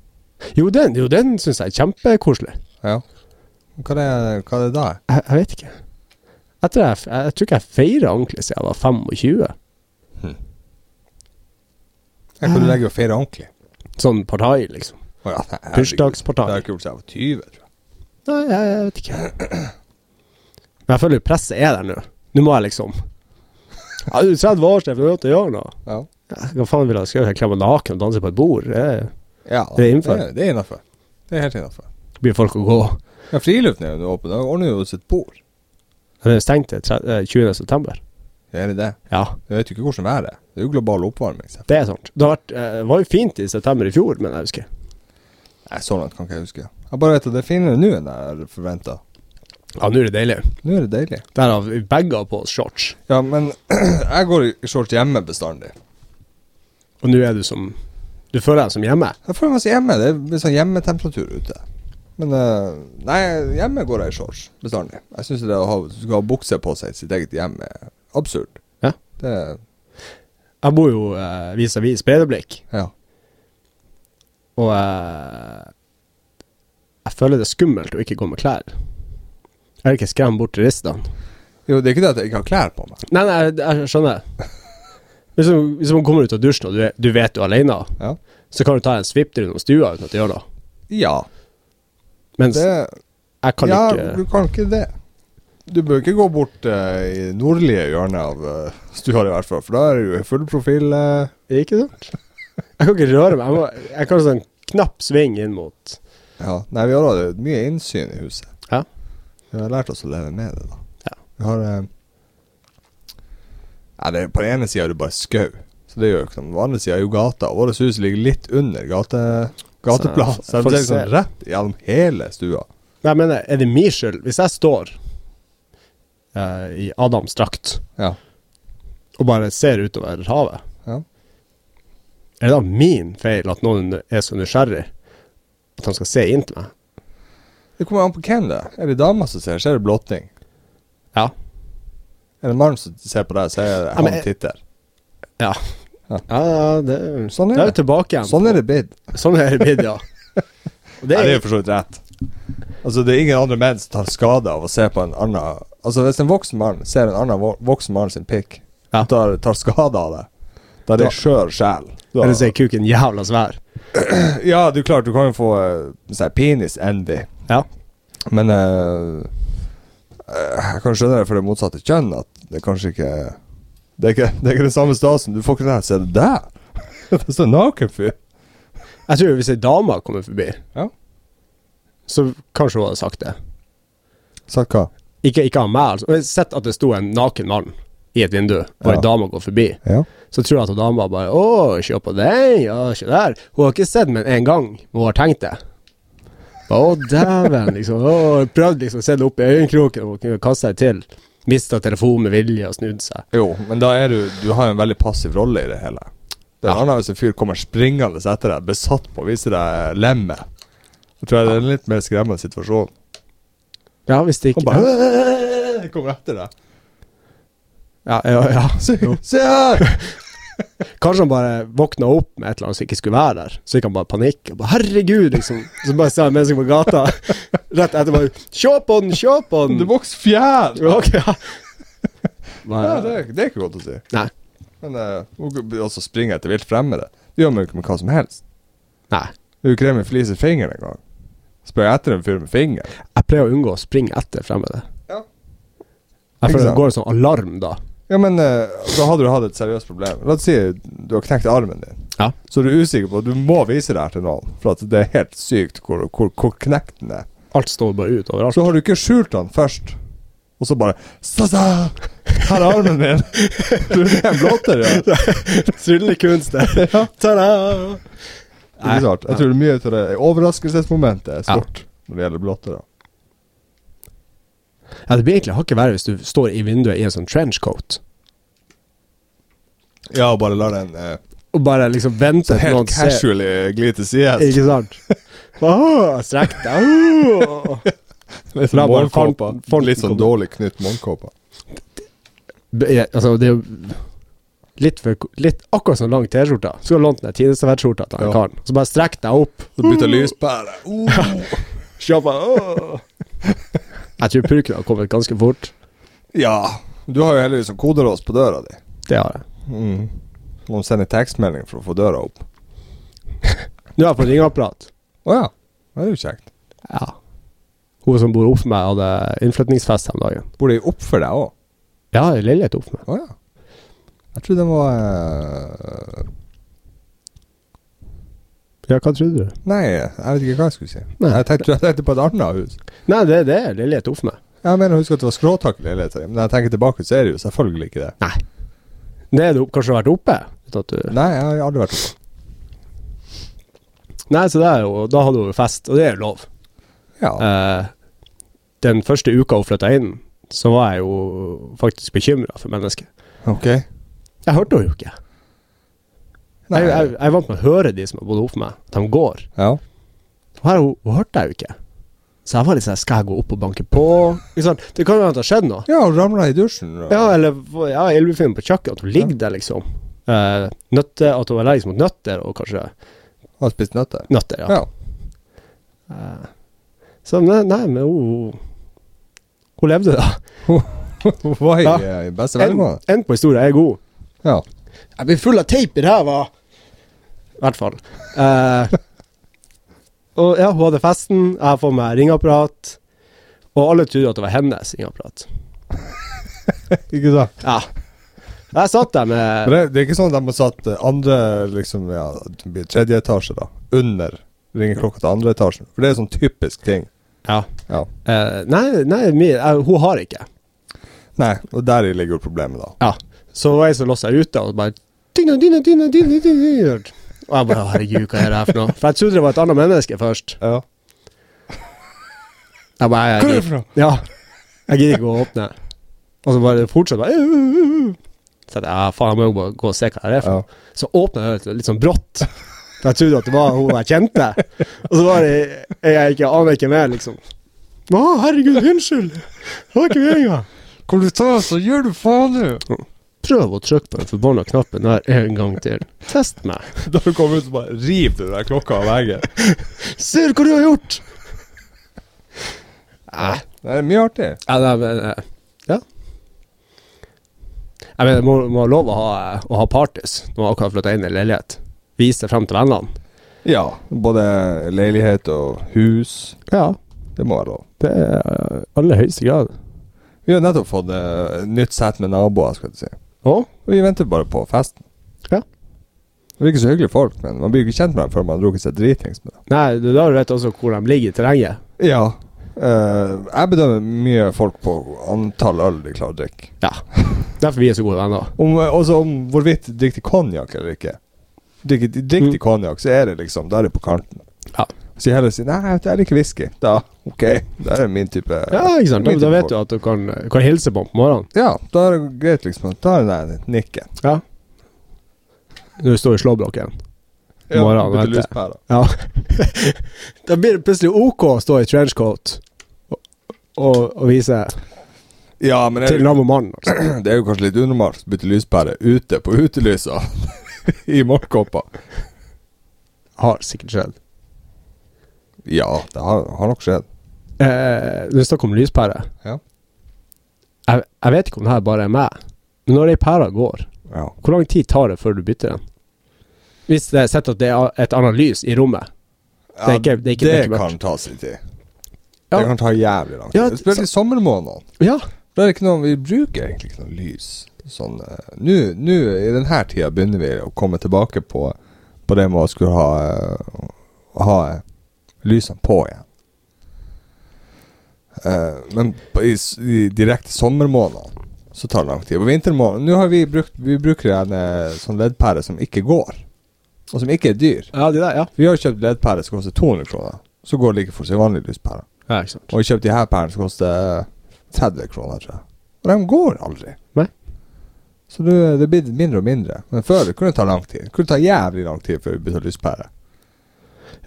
Jo, den, jo, den syns jeg er kjempekoselig. Ja. Hva er det, hva er det da? Jeg, jeg vet ikke. Jeg tror, jeg, jeg, tror ikke jeg feira ordentlig siden jeg var 25. Jeg kan du legge og feire ordentlig? Sånn partai, liksom. Å ja, nei, herregud. Det har Bursdagspartai. jeg ikke gjort siden jeg var 20, tror jeg. Nei, jeg, jeg vet ikke. Men jeg føler jo presset er der nå. Nå må jeg liksom Ja, du er 30 år, Steffen. Du er nødt til å gjøre noe. Ja. Ja, Hva faen vil jeg skal jeg kle meg naken og danse på et bord? Det Ja, da. Det er innenfor. Det, det er innenfor. Det er helt innenfor. blir folk å gå. Ja, friluften er jo nå åpen. Da ordner jo sitt bord. Det er stengt til tre- eh, 20. september. Er det det? Ja, Du vet jo ikke hvordan været er. Det er jo global oppvarming. Så. det er sant. Det har vært, eh, var jo fint i september i fjor, men jeg husker. Nei, så langt kan ikke jeg huske. Jeg bare vet at det er finere nå enn jeg hadde forventa. Ja, nå er det deilig. Nå er det deilig. Derav vi bagga på oss shorts. Ja, men [CLEARS THROAT] jeg går i shorts hjemme bestandig. Og nå er du som Du føler deg som hjemme. Jeg føler meg så hjemme. Det er litt sånn hjemmetemperatur ute. Men eh, nei, hjemme går jeg i shorts bestandig. Jeg syns det å ha, skal ha bukse på seg i sitt eget hjem er absurd. Ja. Det Jeg bor jo eh, vis-à-vis Spedeblikk, Ja. og eh, jeg føler det er skummelt å ikke gå med klær. Jeg vil ikke skremme bort turistene. Jo, det er ikke det at jeg ikke har klær på meg. Nei, nei, jeg, jeg skjønner. Hvis man, hvis man kommer ut av dusjen, og du, er- du vet du er alene, Ja. så kan du ta en svipptur innom stua uten at du gjør noe. Ja, Mens det jeg kan Ja, du ikke kan ikke det. Du bør ikke gå bort eh, i nordlige hjørnet av eh, stua i hvert fall, for da er det jo i full profil. eh, Ikke sant? [LAUGHS] Jeg kan ikke røre meg. Jeg, må, jeg kan sånn knapp sving inn mot Ja, nei, vi har hatt mye innsyn i huset. Ja. Vi har lært oss å leve med det, da. Ja. Vi har eh, Nei, det, på den ene sida er det bare skau, så det gjør jo ikke noe. På den andre sida er jo gata. og Vårt hus ligger litt under gate, gateplan, Så- så det folk er liksom ser. rett gjennom hele stua. Nei, jeg mener, er det min skyld hvis jeg står eh, i Adams drakt Ja. og bare ser utover havet? Ja. Er det da min feil at noen er så nysgjerrig at han skal se inn til meg? Det kommer an på hvem det er. Er det dama som ser, så er det blotting. Ja. Er det mannen som ser på deg, så er det Ja, men han jeg- titter. Ja, ja, det, Sånn er da er det. vi tilbake igjen. Sånn er det [LAUGHS] blitt. Sånn er det blitt, [LAUGHS] ja. Og det Nei, det er er, jo for så vidt rett. Altså, det er ingen andre menn som tar skade av å se på en annen Altså, hvis en voksen mann ser en annen vo- voksen mann sin pikk, Ja. tar, tar skade av det, da er det Da- skjør sjel. Da- eller så er kuken jævla svær. Ja, det er klart, du kan jo få eh, sånn her penis-envy, Ja. men eh, eh, Jeg kan skjønne det for det motsatte kjønn, at det kanskje ikke Det er ikke, det er ikke den samme stasen. Du får ikke den her Se det der! [LAUGHS] det står en naken fyr. Jeg tror hvis ei dame kommer forbi, Ja. så kanskje hun hadde sagt det. Sagt hva? Ikke, ikke av meg, altså. Men Sett at det sto en naken mann i et vindu, og Ja. ei dame går forbi. Ja. Så tror jeg at hun dama bare Å, se på den, ja, se der. Hun har ikke sett meg en gang, men hun har tenkt det. Å, dæven, liksom. Å, prøvd liksom å se det opp i øyekroken og kunne kaste seg til. Mista telefonen med vilje og snudd seg. Jo, men da er du Du har jo en veldig passiv rolle i det hele. Det er Ja. annet hvis en fyr kommer springende etter deg, besatt på å vise deg lemmet. Da tror jeg det er en litt mer skremmende situasjon. Ja, hvis det Han ikke bare «Øh, kommer etter deg. Ja, ja, ja. [LAUGHS] Se, se [LAUGHS] her! Kanskje han bare våkna opp med et eller annet som ikke skulle være der. Så gikk han bare i panikk. Og bare, Herregud, liksom. Så bare ser han mennesker på gata. [LAUGHS] Rett etter bare Se på den, se på den! Det vokser fjær! Ja, Ok, ja. det, er- det er ikke godt å si. Nei. Men uh, også springe etter vilt fremmede. Det gjør man jo ikke med hva som helst. Nei. Det er jo ikke det med flis i fingeren engang. Spør jeg etter en fyr med finger? Jeg pleier å unngå å springe etter fremmede. Ja. Jeg Ikke føler det sant? går en sånn alarm da. Ja, men eh, da hadde du hatt et seriøst problem. La oss si du har knekt armen din. Ja. Så er du usikker på Du må vise det her til noen, for at det er helt sykt hvor, hvor, hvor knekt den er. Alt står bare ut overalt. [LAUGHS] Så har du ikke skjult den først, og så bare Sasa! Her er armen min! Tror du det er en blotter? [LAUGHS] Ja. Det Tryllekunstner. Ta-da! er ikke sant. Jeg tror det er mye ut av det overraskelsesmomentet er Ja. stort når det gjelder blottere. Ja, det blir egentlig hakket verre hvis du står i vinduet i en sånn trenchcoat. Ja, og bare la den eh, Og bare liksom venter til helt noen ser casually gli til sides. Ikke sant? Åh, Strekk deg. Åh. Litt la sånn bare morgenkåpa. fronten- fronten Litt sånn komme. dårlig knytt morgenkåpa. b- jeg- Altså, det er jo litt for litt, Akkurat sånn lang T-skjorte. Skulle ha lånt den tinestafettskjorta til han Ja. karen. Så bare strekk deg opp. Så bytter lyspære. Uh. [LAUGHS] Kjappa, åh. Jeg tror purken har kommet ganske fort. Ja. Du har jo heldigvis en kodelås på døra di. Det har jeg. Mm. Må sende tekstmelding for å få døra opp. Nå har jeg fått ringeapparat. Å ja. Det er jo kjekt. Ja. Hun som bor oppe med meg, hadde innflytningsfest her om dagen. Bor de opp for deg òg? Ja, i leilighet oppe med. Å ja. Jeg trodde den var eh, Ja, hva trodde du? Nei, jeg vet ikke hva jeg skulle si. Nei. Jeg, tenkte, jeg tenkte på et annet hus. Nei, det, det er leilighet oppe med. Jeg mener å huske at det var skråtak i leiligheten din, men når jeg tenker tilbake, så er det jo selvfølgelig ikke det. Det er det opp, kanskje har vært oppe? uten at du- Nei, jeg har aldri vært oppe. Nei, så det er jo, da hadde hun jo fest, og det er jo lov. Ja. Eh, den første uka hun flytta inn, så var jeg jo faktisk bekymra for mennesket. Ok. Jeg hørte henne jo ikke. Nei, jeg, jeg, jeg er vant med å høre de som har bodd oppe med meg, at de går. ja. Og her hun, hun hørte jeg jo ikke. Så jeg var litt sånn Skal jeg gå opp og banke på? Ikke sant? Det kan jo hende det har skjedd noe. Ja, og ramla i dusjen. og- Ja, eller ja, ildbefinnende på kjøkkenet. At hun ligger der, liksom. Eh, nøtte, at hun er allergisk mot nøtter, og kanskje Har spist nøtter. Nøtter, ja. Ja. Eh, så nei, nei, men hun Hun levde, da. [LAUGHS] Hun var i, Ja. eh, i beste velgående. Enden på historien er god. Ja. Jeg blir full av teip i ræva! I hvert fall. Eh, og ja, hun hadde festen, jeg har fått meg ringeapparat. Og alle trodde at det var hennes ringeapparat. Ikke sant? Ja. Jeg satt der Men med det, det er ikke sånn at de har satt eh, andre liksom, ja, det blir tredje etasje, da. Under ringeklokka til andre etasjen. For det er sånn typisk ting. Ja. Ja. Eh, nei, nei mi, eh, hun har ikke. Nei, og deri ligger jo problemet, da. Ja. Så var jeg som lå seg ute, og bare dyna, dyna, dyna, dyna, dyna. Og jeg bare «Å, Herregud, hva er det her for noe? For jeg trodde det var et annet menneske først. Ja. Jeg bare, jeg, for noe? Ja. Jeg gidder ikke å åpne. Og så bare fortsatt bare «Øh, øh, øh». Så jeg, ja, faen, jeg må jo bare gå og se hva det er for Ja. noe. Så åpna jeg litt, litt sånn brått. For jeg trodde at det var hun jeg kjente. Og så var det jeg, jeg ikke aner ikke mer, liksom. Å, herregud, unnskyld! Det var ikke meninga. Kom du ta, så gjør du faen, du! Prøv å trykke på den forbanna knappen der en gang til. Test meg. [LAUGHS] Da du kom ut, så bare riv du den der klokka av veggen. Ser hva du har gjort! Nei. [LAUGHS] Det er mye artig. Ja, nei, men eh, Ja. Jeg mener, må, må ha lov å ha, eh, å ha parties når man akkurat flytta inn i leilighet. Vise det frem til vennene. Ja. Både leilighet og hus. Ja, Det må være lov. det er eh, aller høyeste grad. Vi har nettopp fått eh, nytt sett med naboer, skal du si. Å? Og vi venter bare på festen. Ja. Det virker så hyggelige folk, men man blir jo ikke kjent med dem før man har drukket seg dritings med dem. Nei, du, da vet du også hvor de ligger i terrenget. Ja. Eh, jeg bedømmer mye folk på antall øl de klarer å drikke. Ja. [LAUGHS] Derfor vi er så gode venner. Om, eh, også om hvorvidt de drikker konjakk eller ikke. Drikker de drikker Mm. de konjakk, så er det liksom Da er det på kanten. Ja. Så jeg heller sier nei, vet du, jeg liker whisky. Da OK, da er det min type Ja, ikke sant? Da, min da type vet du folk. at du kan, kan hilse på dem på morgenen. Ja, da er det greit, liksom. Da er det der nikken. Ja. Når du står i slåbroken. Ja, Morgenen, bytter vet jeg. lyspærer. Ja. [LAUGHS] da blir det plutselig OK å stå i trenchcoat og, og, og vise Ja, men er det til nabomannen. Altså. [CLEARS THROAT] Det er jo kanskje litt unormalt å bytte lyspære ute på utelysa [LAUGHS] i morgenkåpa. Har sikkert skjedd. Ja, det har, har nok skjedd. Eh, du snakker om lyspære. Ja. Jeg, jeg vet ikke om det her bare er meg, men når ei pære går, Ja. hvor lang tid tar det før du bytter den? Hvis det er sett at det er et annet lys i rommet. Det er ikke- det er ikke- det er ikke mørkt. kan ta sin tid. Ja. Det kan ta jævlig lang tid. Ja, Spesielt i sommermånedene. Ja. Da er det ikke noe Vi bruker egentlig ikke noe lys. Sånn eh, Nå, nå i denne tida begynner vi å komme tilbake på, på det med å skulle ha, eh, ha eh, lysene på igjen. Eh, men på, i, s- i direkte sommermånedene så tar det lang tid. På vintermånedene Nå har vi brukt Vi bruker en eh, sånn leddpære som ikke går, og som ikke er dyr. Ja, de der, ja. Vi har kjøpt leddpære som koster 200 kroner. Så går det like fort som en vanlig lyspære. Ja, ikke sant. Og jeg kjøpte de her pærene som koster 30 kroner, tror jeg. Og de går aldri. Nei. Så du, det blir mindre og mindre. Men før det kunne det ta lang tid. Det kunne ta jævlig lang tid før vi begynte å lyspære.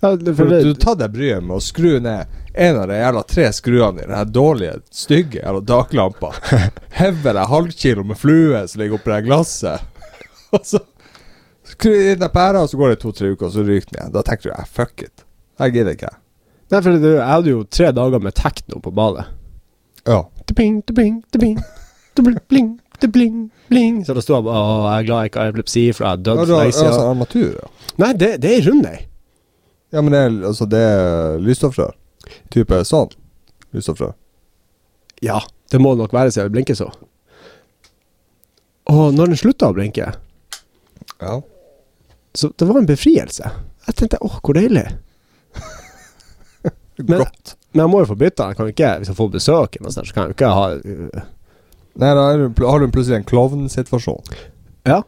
Ja, det, For for du det, tar deg bryet med å skru ned en av de jævla tre skruene i den her dårlige, stygge jævla taklampa. Hever jeg halvkilo med flue som ligger oppi det glasset. [LAUGHS] Og så skrur jeg inn den pæra, og så går det to-tre uker, og så ryker den igjen. Da tenker du eh, fuck it. Jeg gidder ikke. Nei, for det, jeg hadde jo tre dager med tekno på badet. Ja. Debing, debing, debing. Debling, bling, debling, bling. Så da sto jeg bare Å, jeg er glad jeg ikke har epilepsi, for jeg er dødd Ja, du for har lenge altså, siden. armatur, ja. Nei, det, det er rund, ei. Ja, men det er, altså, det er lysstoffrør. Type sånn lysstoffrør. Ja, det må det nok være siden jeg blinker så. Og når den slutta å blinke, Ja. så det var en befrielse. Jeg tenkte åh, hvor deilig. Men- Godt. Men jeg må jo få bytta den. Jeg kan jo ikke, hvis jeg får besøk, eller noe sånt, så kan jeg jo ikke ha øh, Nei, da er du, pl- har du plutselig en klovnsituasjon. Ja.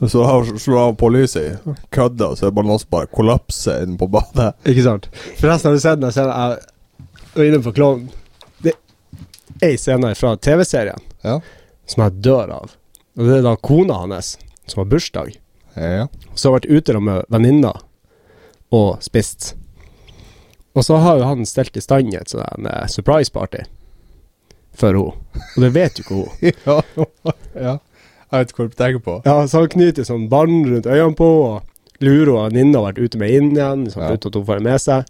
Så har- slår av på lyset, i kødda, så er balansen bare kollapser inne på badet. Ikke sant? Forresten, har du sett den scenen jeg var inne på Klovn? Det er ei scene fra TV-serien Ja. som jeg dør av. Og det er da kona hans som har bursdag. Ja. Så har hun vært ute da med venninna og spist. Og så har jo han stelt i stand et sånn eh, surprise party for henne. Og det vet jo ikke hun. ja. [LAUGHS] ja. Jeg vet ikke hva du tenker på. Ja, så han knyter sånn bånd rundt øynene på og lurer henne. Venninna har vært ute med inn igjen, liksom, Ja. uten at hun får det med seg.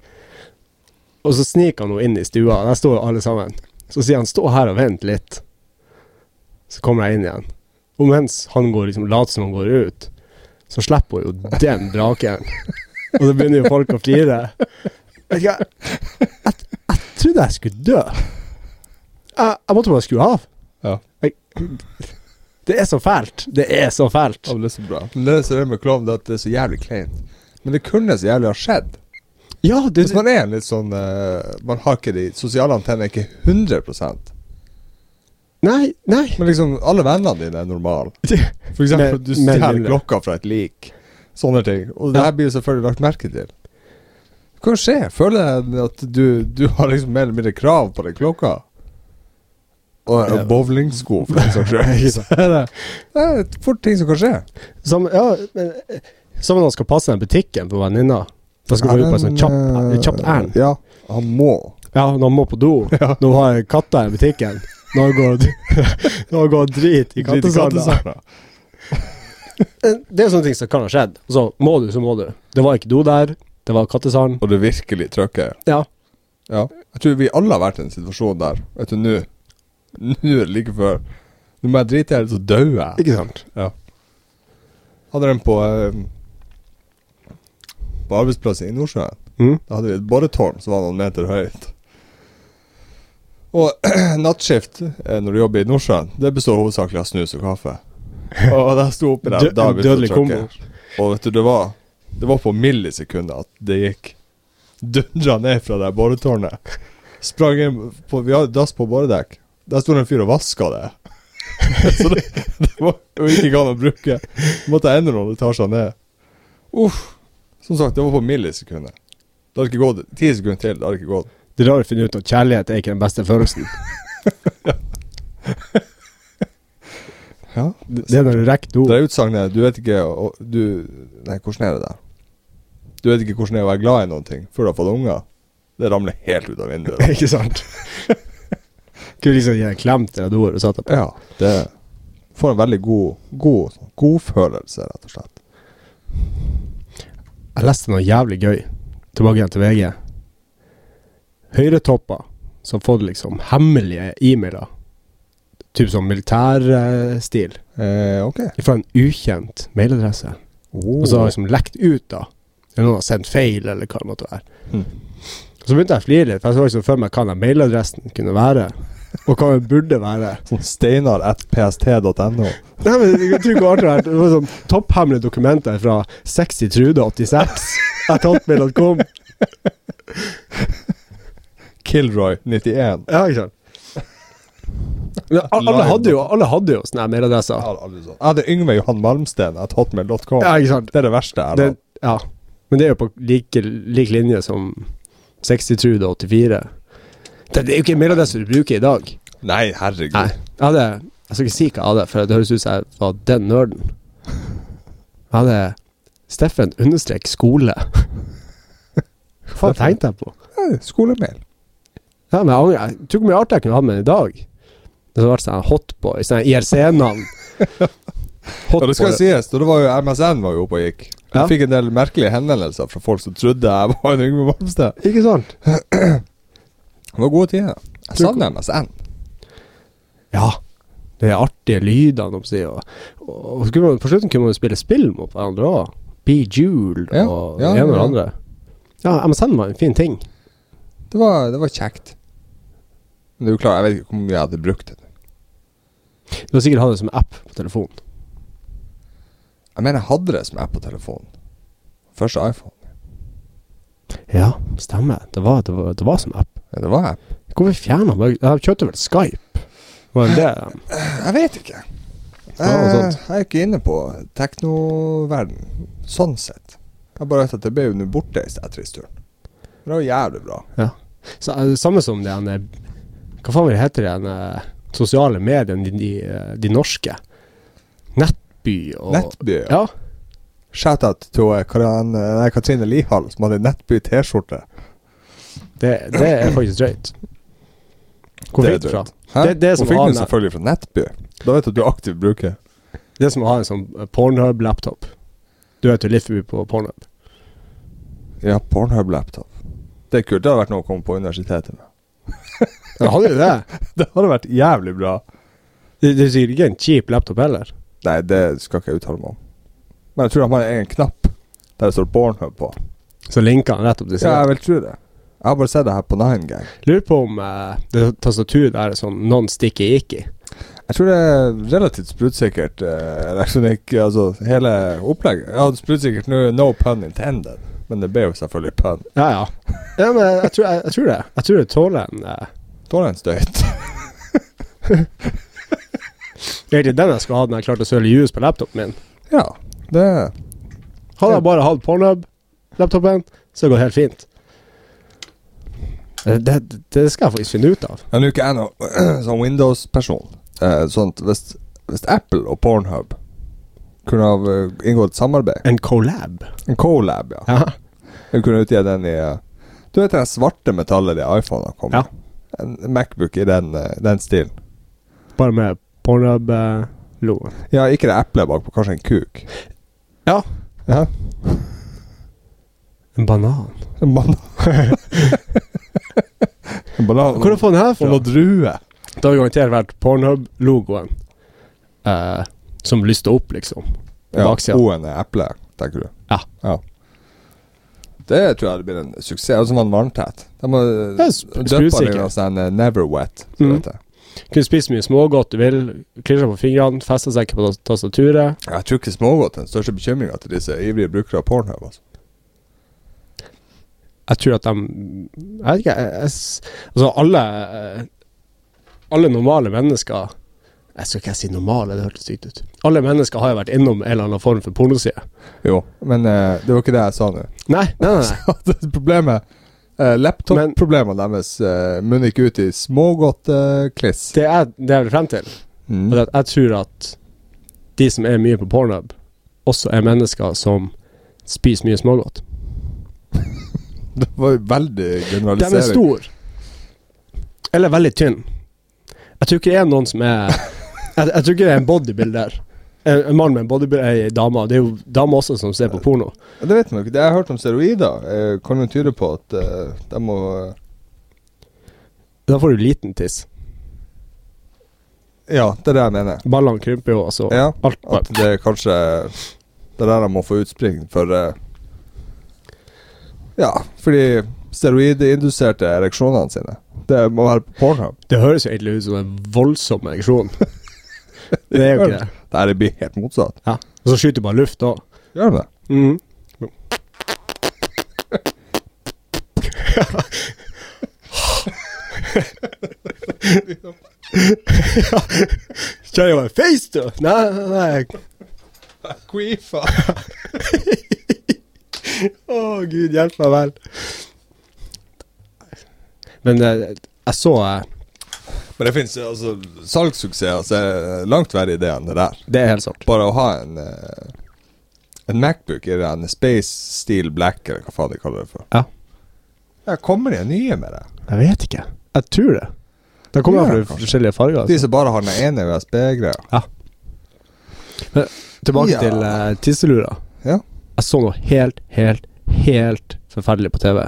Og så sniker han henne inn i stua, der står alle sammen. Så sier han 'stå her og vent litt'. Så kommer jeg inn igjen. Og mens han går liksom later som han går ut, så slipper hun jo den braken. Og så begynner jo folk å flire. Vet ikke, jeg, jeg, jeg trodde jeg skulle dø. Jeg, jeg måtte bare skru av. Ja. Det er så fælt. Det er så fælt. Ja, men det er så bra. Men det er så det med klovn det er at det er så jævlig kleint. Men det kunne så jævlig ha skjedd. Ja, det, Hvis man er en litt sånn eh, Man har ikke de sosiale antennene ikke 100 Men Nei, nei. liksom, alle vennene dine er normale. For Men- eksempel, du men stjeler mindre. klokka fra et lik. Sånne ting. Og det Ja. her blir jo selvfølgelig lagt merke til. Hva skjer? Føler jeg at du, du har liksom mer eller mindre krav på den klokka? Og Ja. og bowlingsko, for den saks skyld. [LAUGHS] Det er fort ting som kan skje. Som, ja, men, eh, som når man skal passe den butikken på venninna. Da skal man ut på en sånn kjapp, eh, kjapt ærend. Ja, han må. Ja, når man må på do. Nå har jeg katta i butikken. Nå går, nå går drit i Drit i kattesanda. kattesanda. Det er sånne ting som kan ha skjedd. Og Så må du, så må du. Det var ikke do der. Det var kattesand. Og det virkelig trøkker. Ja. Ja. Jeg tror vi alle har vært i en situasjon der. Vet du, nå Nå er det like før. Nå må jeg drite i det, så dauer jeg. Ikke sant? Hadde den på eh, På arbeidsplassen i Nordsjøen. Mm. Da hadde vi et boretårn som var noen meter høyt. Og [CLEARS THROAT] nattskift eh, når du jobber i Nordsjøen, det består hovedsakelig av snus og kaffe. [LAUGHS] Og da sto oppi der Dø- da en begynte det dødelig å kombo. trykke. Og vet du, det var Det var på millisekunder at det gikk dundra ned fra det boretårnet. Sprang inn på Vi hadde dass på boredekk. Der sto det en fyr og vaska det. [LAUGHS] Så det, det var jo ikke galt å bruke. Måtte jeg enda noen etasjer ned. Uff. Som sagt, det var på millisekunder. Det hadde ikke gått ti sekunder til. Det hadde ikke gått. Det er rart å finne ut at kjærlighet er ikke den beste følelsen. Ja. Det det er når du rekker do. Det er utsagnet Du vet ikke å- du, Nei, hvordan er det der? Du vet ikke hvordan det er å være glad i noen ting før du har fått unger. Det ramler helt ut av vinduet. [LAUGHS] Ikke sant? Kunne liksom gi en klem til det doet du satt deg på. Ja, det får en veldig god God sånn godfølelse, rett og slett. Jeg leste noe jævlig gøy tilbake igjen til VG. Høyretopper som har fått liksom hemmelige e-mailer, typ sånn militærstil, Eh, ok. fra en ukjent mailadresse. Oh. Og så har liksom lekt ut, da. Eller noen har sendt feil, eller hva det måtte være. Mm. Så begynte jeg å flire litt, for jeg så liksom for meg hva den mailadressen kunne være. Og hva den burde være. sånn steinar at pst.no. Nei, men jeg tror ikke artig det har vært Det var sånn topphemmelige dokumenter fra Sexy Trude 86 at hotmail.com. Kilroy 91. Ja, ikke sant. Men al- alle hadde jo, alle hadde jo sånne her Jeg mailadresser. hadde aldri sånn. Jeg hadde Yngve Johan Malmsten at hotmail.com. Ja, ikke sant. Det er det verste jeg har Det, hatt. ja. Men det er jo på like, lik linje som Sexy Trude 84. Det, det er jo ikke en mailadresse du bruker i dag. Nei, herregud. Nei. Jeg hadde Jeg skal ikke si hva jeg hadde, for det høres ut som jeg var den nerden. Jeg hadde Steffen understrek skole. Hva faen tenkte jeg på? Ja, er skolemail. Ja, men jeg angrer. Jeg tror ikke hvor mye artig jeg kunne hatt med den i dag. Det hadde vært sånn hotboy, sånn IRC-navn. Og det skal sies, og det var jo MSN var jo oppe og gikk. Jeg Ja. fikk en del merkelige henvendelser fra folk som trodde jeg var en Yngve Malmsted. Ikke sant? Det var gode tider. Jeg savner MSN. Ja. Det er artige lydene, om å si. Og, og, og så kunne man, på slutten kunne man jo spille spill mot hverandre òg. Bejeweled Ja, og ja, det ene og det ja. andre. Ja, MSN var en fin ting. Det var, det var kjekt. Men det er jo klart, jeg vet ikke hvor mye jeg hadde brukt det. Du har sikkert hatt det som app på telefonen. Jeg mener, jeg hadde det som app på telefonen. Første iPhone. Ja, stemmer. Det var, det var, det var som app. Ja, det var app. Hvorfor fjerna man Jeg kjøpte vel Skype? Var det [LAUGHS] det? Jeg vet ikke. Ja, og Jeg, sånt. jeg er ikke inne på teknoverden sånn sett. Jeg bare vet at det ble jo nå borte etter turen. Men det var jævlig bra. Så, eh, samme som det ene Hva faen var det heter det ene sosiale mediene, de, de, eh, de norske? Nettby og Nettby. Ja. Shout-out til eh, Karan- nei, Katrine Lihal, som hadde Nettby T-skjorte. Det, det er faktisk drøyt. Hvor Det er fikk du fra? drøyt. Hæ? Det- det som Hun fikk var den nett- selvfølgelig fra Nettby. Da vet du at du er aktiv bruker. Det er som å ha en sånn eh, Pornhub-laptop. Du vet jo litt forbi på Pornhub. Ja, Pornhub-laptop. Det er kult. Det hadde vært noe å komme på universitetet med. Jeg hadde jo det. [LAUGHS] Det hadde vært jævlig bra. Det det er sikkert ikke en kjip laptop heller. Nei, det skal ikke jeg uttale meg om. Men jeg tror han har en egen knapp der det står Pornhub på. Så linka han rett opp til Ja, siden. jeg vil tro det. Jeg har bare sett det her på Nine Gang. Lurer på om eh, det tastaturet der er sånn non-sticky-icky. Jeg tror det er relativt sprutsikkert eh, elektronikk, altså hele opplegget. Ja, sprutsikkert nå, no pun intended, men det ble jo selvfølgelig pun. Ja, ja. ja men jeg, tror, jeg, jeg tror det. Jeg tror det tåler en eh, Tåler en støyt. Egentlig den jeg skulle hatt når jeg klarte å søle juice på laptopen min. [LAUGHS] ja, det Hadde jeg bare hatt Pornhub-laptopen, så hadde det gått helt fint. Eh, Det, det, det skal jeg faktisk finne ut av. Men nå er ikke jeg noe [CLEARS THROAT] sånn Windows-person. Eh, sånt, hvis, hvis Apple og Pornhub kunne ha eh, inngått samarbeid, En collab. en colab, ja. Ja. Hun kunne utgi den i eh, Du vet det svarte metallet de iPhonene kom Ja. En Macbook i den, eh, den stilen. Bare med eh, Pornhub-loen. Ja, ikke det eplet bakpå, kanskje en kuk. Ja. Ja, En banan. [LAUGHS] En banan. en banan Hvor har du fått den her og fra? noe drue. Da har vi garantert vært Pornhub-logoen eh, som lyste opp, liksom. På Ja, baksida. O-en er eple, tenker du. Ja. Det tror jeg hadde blitt en suksess. Og så var den varmtett. De må Det er sp- døpe den i skrusikker. noe sånn eh, Never Wet. så Mm. vet jeg. Kunne spise mye smågodt du vil. Klirre på fingrene, feste seg ikke på tas- tastaturet. Jeg tror ikke smågodt er den største bekymringa til disse ivrige brukere av Pornhub. Altså. Jeg tror at de Jeg vet ikke, jeg, jeg, s- Altså, alle eh, Alle normale mennesker Jeg skal ikke si normale, det hørtes sykt ut. Alle mennesker har jo vært innom en eller annen form for pornoside. Jo, men eh, det var ikke det jeg sa nå. Nei, nei, nei. nei. [LAUGHS] at det problemet eh, Laptop-problemene deres eh, munner ikke ut i smågodtkliss. Det er det jeg vil frem til. Mm. Og det, at jeg tror at de som er mye på pornhub, også er mennesker som spiser mye smågodt. [LAUGHS] Det var jo veldig Den er generalisering. stor. Eller veldig tynn. Jeg tror ikke det er noen som [LAUGHS] er Jeg, jeg tror ikke det er en bodybuilder. En, en mann med en bodybuilder er ei dame. Det er jo damer også som ser på porno. Det vet man jo ikke. Det jeg har hørt om steroider, eh, kan jo tyde på at eh, de må eh, Da får du liten tiss. Ja, det er det jeg mener. Ballene krymper jo, altså. Ja, Alt At bare det er kanskje Det er der de må få utspring for eh, Ja, fordi steroidinduserte ereksjonene sine. Det må være på Pornhub. Det høres jo egentlig ut som en voldsom [LAUGHS] ereksjon. det er jo ikke det. Nei, det blir helt motsatt. Ja. Og så skyter du bare luft òg. Gjør de det? Mm. Kjenner jeg meg feist, du? Nei, nei, nei. [LAUGHS] Queefa. Å, gud hjelpe meg vel. Men eh, jeg så eh, Men det fins altså, salgssuksesser som er langt verre idé enn det der. Det er helt sant. Bare å ha en eh, En Macbook i den Space Steel Black, eller hva faen de kaller det for. Ja. Ja, kommer det nye med det? Jeg vet ikke. Jeg tror det. Det kommer Ja, an fra kanskje. forskjellige farger. De Altså. som bare har den ene USB-greia. Tilbake Ja. til eh, tisselura. Ja. Jeg så noe helt, helt, helt forferdelig på TV.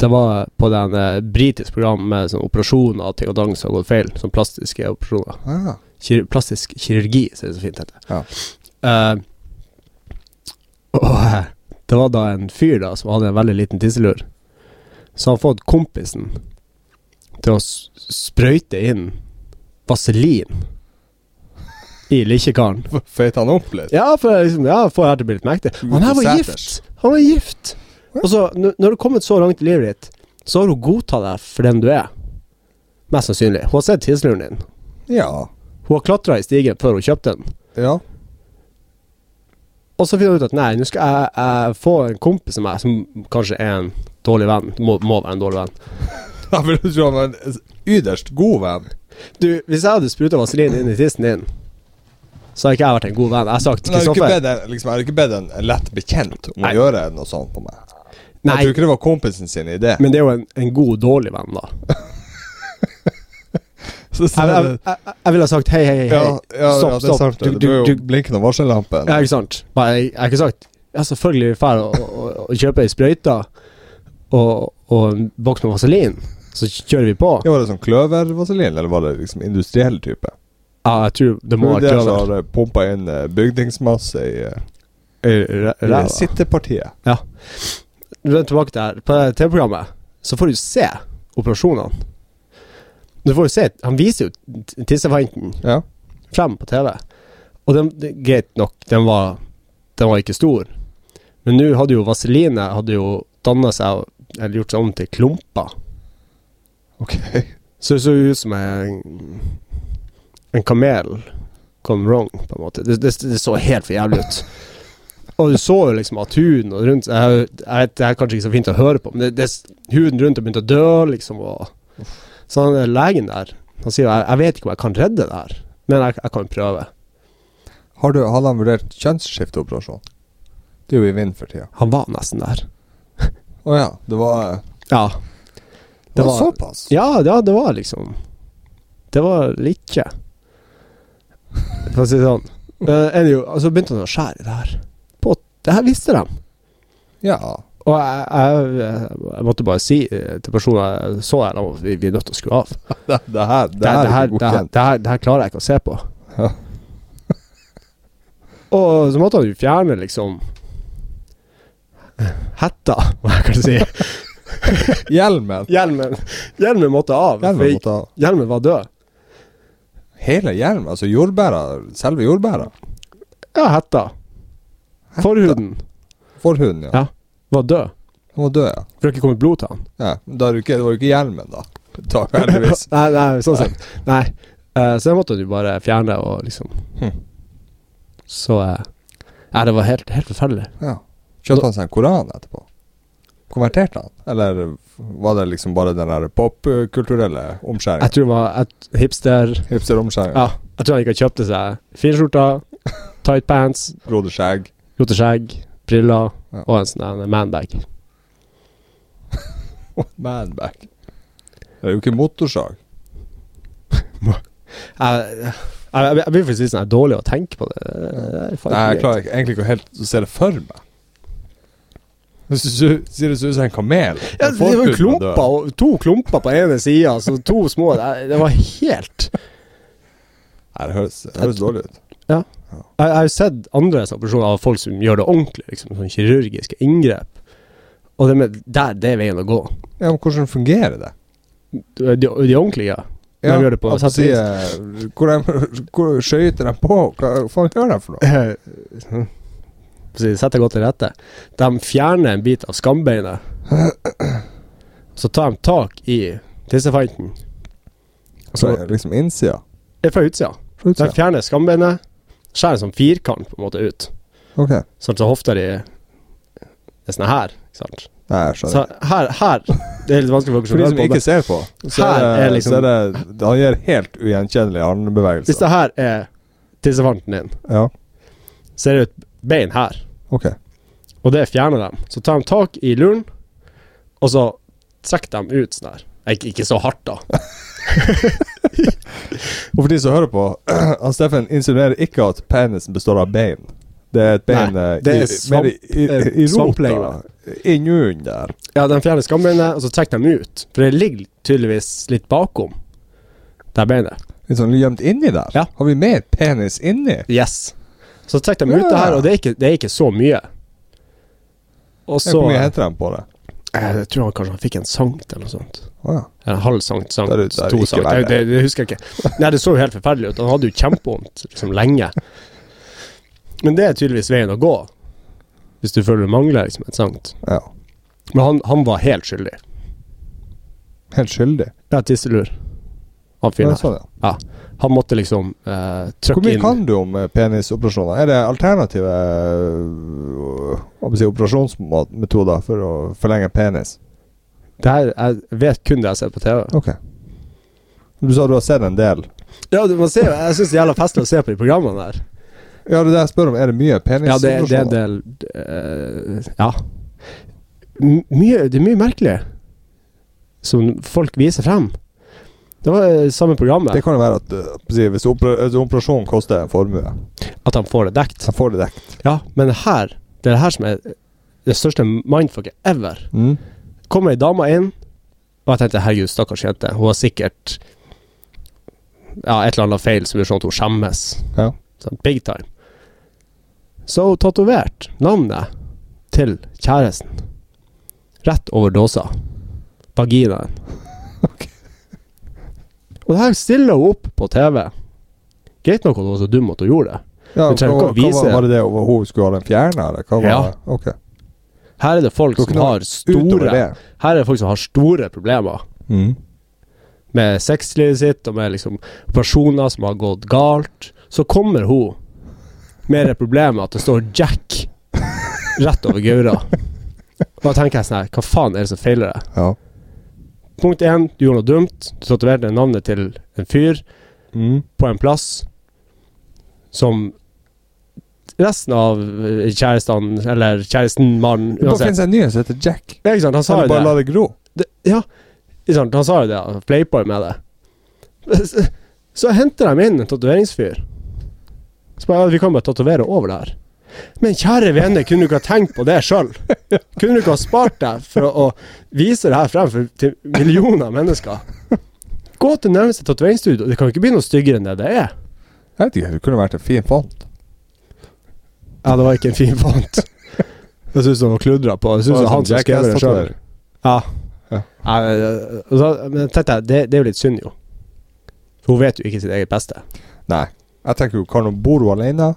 Det var på den eh, britisk program med sånn operasjoner og ting og dang som har gått feil. Sånn plastiske operasjoner. Ah, kir plastisk kirurgi, ser det så fint heter. Ja. Eh, og eh, det var da en fyr da som hadde en veldig liten tisselur. Så han fått kompisen til å s- sprøyte inn vaselin i likekaren. Føyte han opp litt? Ja, for liksom, ja, for her til å bli litt mektig. Han her var gift! Han var gift! Og så, n- når du har kommet så langt i livet ditt, så har hun godtatt deg for den du er. Mest sannsynlig. Hun har sett tisseluren din. Ja. Hun har klatra i stigen før hun kjøpte den. ja. [LAUGHS] Og så finner hun ut at nei, nå skal jeg, jeg få en kompis av meg som kanskje er en dårlig venn. Må, må være en dårlig venn. Jeg vil tro han var en yderst god venn. Du, hvis jeg hadde spruta vaselin inn i tissen din, så hadde ikke jeg vært en god venn. Jeg hadde sagt Men Jeg har ikke Kristoffer. bedt en, liksom, jeg har ikke bedt en lett bekjent om Nei. å gjøre noe sånt på meg. Nei, Jeg tror ikke det var kompisen sin idé. men det er jo en, en god, dårlig venn, da. [LAUGHS] Så, så, Jeg, jeg, jeg, jeg ville ha sagt hei, hei, hei. ja, ja, ja, stopp, det er sant. stopp. det. Du, det du, var jo du, blinkende varsellampen. ja, ikke sant. Bare, jeg, jeg har ikke sagt Ja, selvfølgelig drar og, og, og kjøper ei sprøyte og, og en boks med vaselin, så kjører vi på. Ja, var det sånn kløvervaselin, eller var det liksom industriell type? Ja, jeg tror det må Må være det som kløver. har pumpa inn eh, bygningsmasse i, eh, i Ræva. sittepartiet. Du er tilbake der. På det TV-programmet så får du se operasjonene. Du får jo se, Han viser jo t- tissefanten Ja. frem på TV. Og den, det, greit nok, den var, den var ikke stor. Men nå hadde jo vaselinet hadde jo danna seg og- eller gjort seg om til klumper. Ok. Så det så ut som en, en kamel gone wrong, på en måte. Det, det, det så helt for jævlig ut. Og du så jo liksom at huden og rundt jeg, jeg vet, Det er kanskje ikke så fint å høre på, men det, det, huden rundt begynte å dø, liksom. Og, så han der legen der Han sier jeg, jeg vet ikke om jeg kan redde det her, men jeg, jeg kan prøve. Har du, hadde han vurdert kjønnsskifteoperasjon? Det er jo i vind for tida. Han var nesten der. Å ja. Det var, eh, Ja. det var, var- såpass? Ja, ja det var liksom Det var like. For å si det sånn. [LAUGHS] Eh, Anyway, og så begynte han å skjære i det her. På, det her visste de. Ja. Og jeg, jeg, jeg måtte bare si eh, til personen jeg så her, at vi, vi er nødt til å skru av. Det, Det, det her, det her her- det, her, det, er ikke her, godkjent. det, her, det her klarer jeg ikke å se på. Ja. [LAUGHS] og så måtte han jo fjerne liksom hetta, [LAUGHS] hva jeg kan si. Hjelmen. Hjelmen, hjelmen måtte av. Hjelmen Hjelmen, måtte av. hjelmen var død. Hele hjelmen? Altså jordbæra? Selve jordbæra? Ja, hetta. Forhuden Forhuden, ja. Ja. var død. Den var død, ja. For det har ikke kommet blod til han. [LAUGHS] ja. Da er det, ikke, det var jo ikke hjelmen, da. Takk, [LAUGHS] heldigvis. nei, nei, sånn sett. Nei. Eh, så jeg måtte jo bare fjerne det og liksom Hm. Så eh, Nei, det var helt, helt forferdelig. Ja. Kjøpte han seg en koran etterpå? Konverterte han? Eller var det liksom bare den der popkulturelle omskjæringa? Jeg tror det var et hipster Hipsteromskjæringa? Ja, jeg tror han ikke kjøpte seg finskjorta, tight pants, Grodde skjegg? rote skjegg, briller Ja. og en sånn en manbag. Manback? Det er jo ikke motorsag. Jeg, jeg, jeg blir faktisk litt sånn her dårlig å tenke på det. det er faen Nei, jeg greit. klarer ikke, egentlig ikke å helt se det for meg. Det ser ut ser det ut som en kamel. Ja, En det var forhud med klumper, død. og to klumper på ene sida, så to små Det, det var helt Nei, det høres, det høres dårlig ut. Jeg jeg har jo sett andre sånne operasjoner av folk som gjør det ordentlig, liksom, sånn kirurgiske inngrep. Og det med der, det er veien å gå. Ja, men hvordan fungerer det? De, de ordentlige. De gjør det på altså, sett og sier, hvor, de, hvor skøyter de på? Hva faen gjør de for noe? Eh, [LAUGHS] Så de setter godt til rette. De fjerner en bit av skambeinet. Så tar de tak i tissefanten. Og Så Så liksom innsida. det er fra utsida. Fra De utsida. fjerner skambeinet, skjærer en sånn firkant på en måte ut. Ok. Sånn som hofta di er sånn her. Ikke sant? Nei, jeg skjønner. Så her, her Det er litt vanskelig for dere For de som som hører på. ikke ser på, så Her er, er det- liksom- så er det Han gjør helt ugjenkjennelige men Hvis armbevegelser. det her er tissefanten din, Ja, så er det et bein her. ok. Og det fjerner de. Så tar de tak i luren, og så trekk dem ut sånn her. Ikke, ikke så hardt, da. Og for de som hører på, [CLEARS THROAT] han Steffen insinuerer ikke at penisen består av bein. Det er et bein Nei, eh, det er i, svamp- mer i, i, eh, i rota. svamplegeme. Innunder der. Ja, de fjerner skambeinet, og så trekk dem ut. For det ligger tydeligvis litt bakom det beinet. Litt sånn gjemt inni der. Ja. Har vi mer penis inni? Yes. Så trekk dem ut Ja. det her, og det er ikke, det er ikke så mye. Og Ja, så Hvor mye heter de på det? Eh, Jeg tror han kanskje han fikk en sankt eller noe sånt. Å ja. En halv sankt, sankt, Der ute er det to ikke sankt. verre. Det, det, det husker jeg ikke. Nei, det så jo helt forferdelig ut. Han hadde jo kjempevondt liksom lenge. Men det er tydeligvis veien å gå, hvis du føler du mangler liksom et sankt. ja. Men han, han var helt skyldig. Helt skyldig. Det er tisselur. Han Ja, fyren her. sånn, ja. Han måtte liksom eh, Hvor trykke mye inn kan du om eh, penisoperasjoner? Er det alternative øh, hva skal jeg si, operasjonsmetoder for å forlenge penis? Det her, Jeg vet kun det jeg ser på TV. Ok. Du sa du har sett en del. Ja, du må se, Jeg syns det er jævla festlig å se på de programmene der. Ja, det er det jeg spør om. Er det mye Ja, det, det er en penisoperasjoner? del eh, Ja. M mye, det er mye merkelig som folk viser frem. Det var eh, samme programmet, Det kan jo være at øh, på å si, hvis opera, altså, operasjonen koster en formue, at han får det dekt. så får du dekket. Ja, men her Det er det her som er det største mindfucket ever. Mm. Kommer ei dame inn, og jeg tenkte herregud, stakkars jente, hun har sikkert ja, et eller annet feil som gjør sånn at hun skjemmes. Ja. Sånn, big time. Så har hun tatovert navnet til kjæresten rett over dåsa. Vaginaen. Ok. Og det her stiller hun opp på TV. Greit nok at hun var så dum at hun gjorde det. Ja, Du trenger hva, ikke å hva vise- var, var det det over hun skulle ha den fjerna, eller hva var Ja. det? Ok. Her er det folk Det var som ikke noe har Utover store det. Her er det folk som har store problemer Mm. med sexlivet sitt og med liksom personer som har gått galt. Så kommer hun med det problemet at det står Jack rett over gaura. Og da tenker jeg sånn her, hva faen er det som feiler deg? Ja. Punkt én, du gjorde noe dumt. Du tatoverte navnet til en fyr Mm. på en plass som resten av eh, kjærestene, eller kjæresten, mannen, Det bare uansett finnes en ny som heter Jack. Ja, Ikke sant, han sa Eller jo bare det. la det gro. det Ja, ikke sant, han sa jo det. han Playboy med det. Så- [LAUGHS] Så henter de inn en tatoveringsfyr. Så bare, ja, vi kan bare tatovere over det her. Men kjære vene, kunne du ikke ha tenkt på det sjøl? Kunne du ikke ha spart deg for å, å vise det her frem for, til millioner av mennesker? Gå til nærmeste tatoveringsstudio. Det kan jo ikke bli noe styggere enn det det er. Jeg vet ikke, det kunne vært en fin font. Ja, det var ikke en fin [LAUGHS] font. Det syns han var kludra på. Det syns sånn han som skrev det sjøl. Ja. Ja. Nei, men, øh, og så- men tenkte jeg, det, det er jo litt synd, jo. For hun vet jo ikke sitt eget beste. Nei. Jeg tenker jo, kan hun bor hun alene?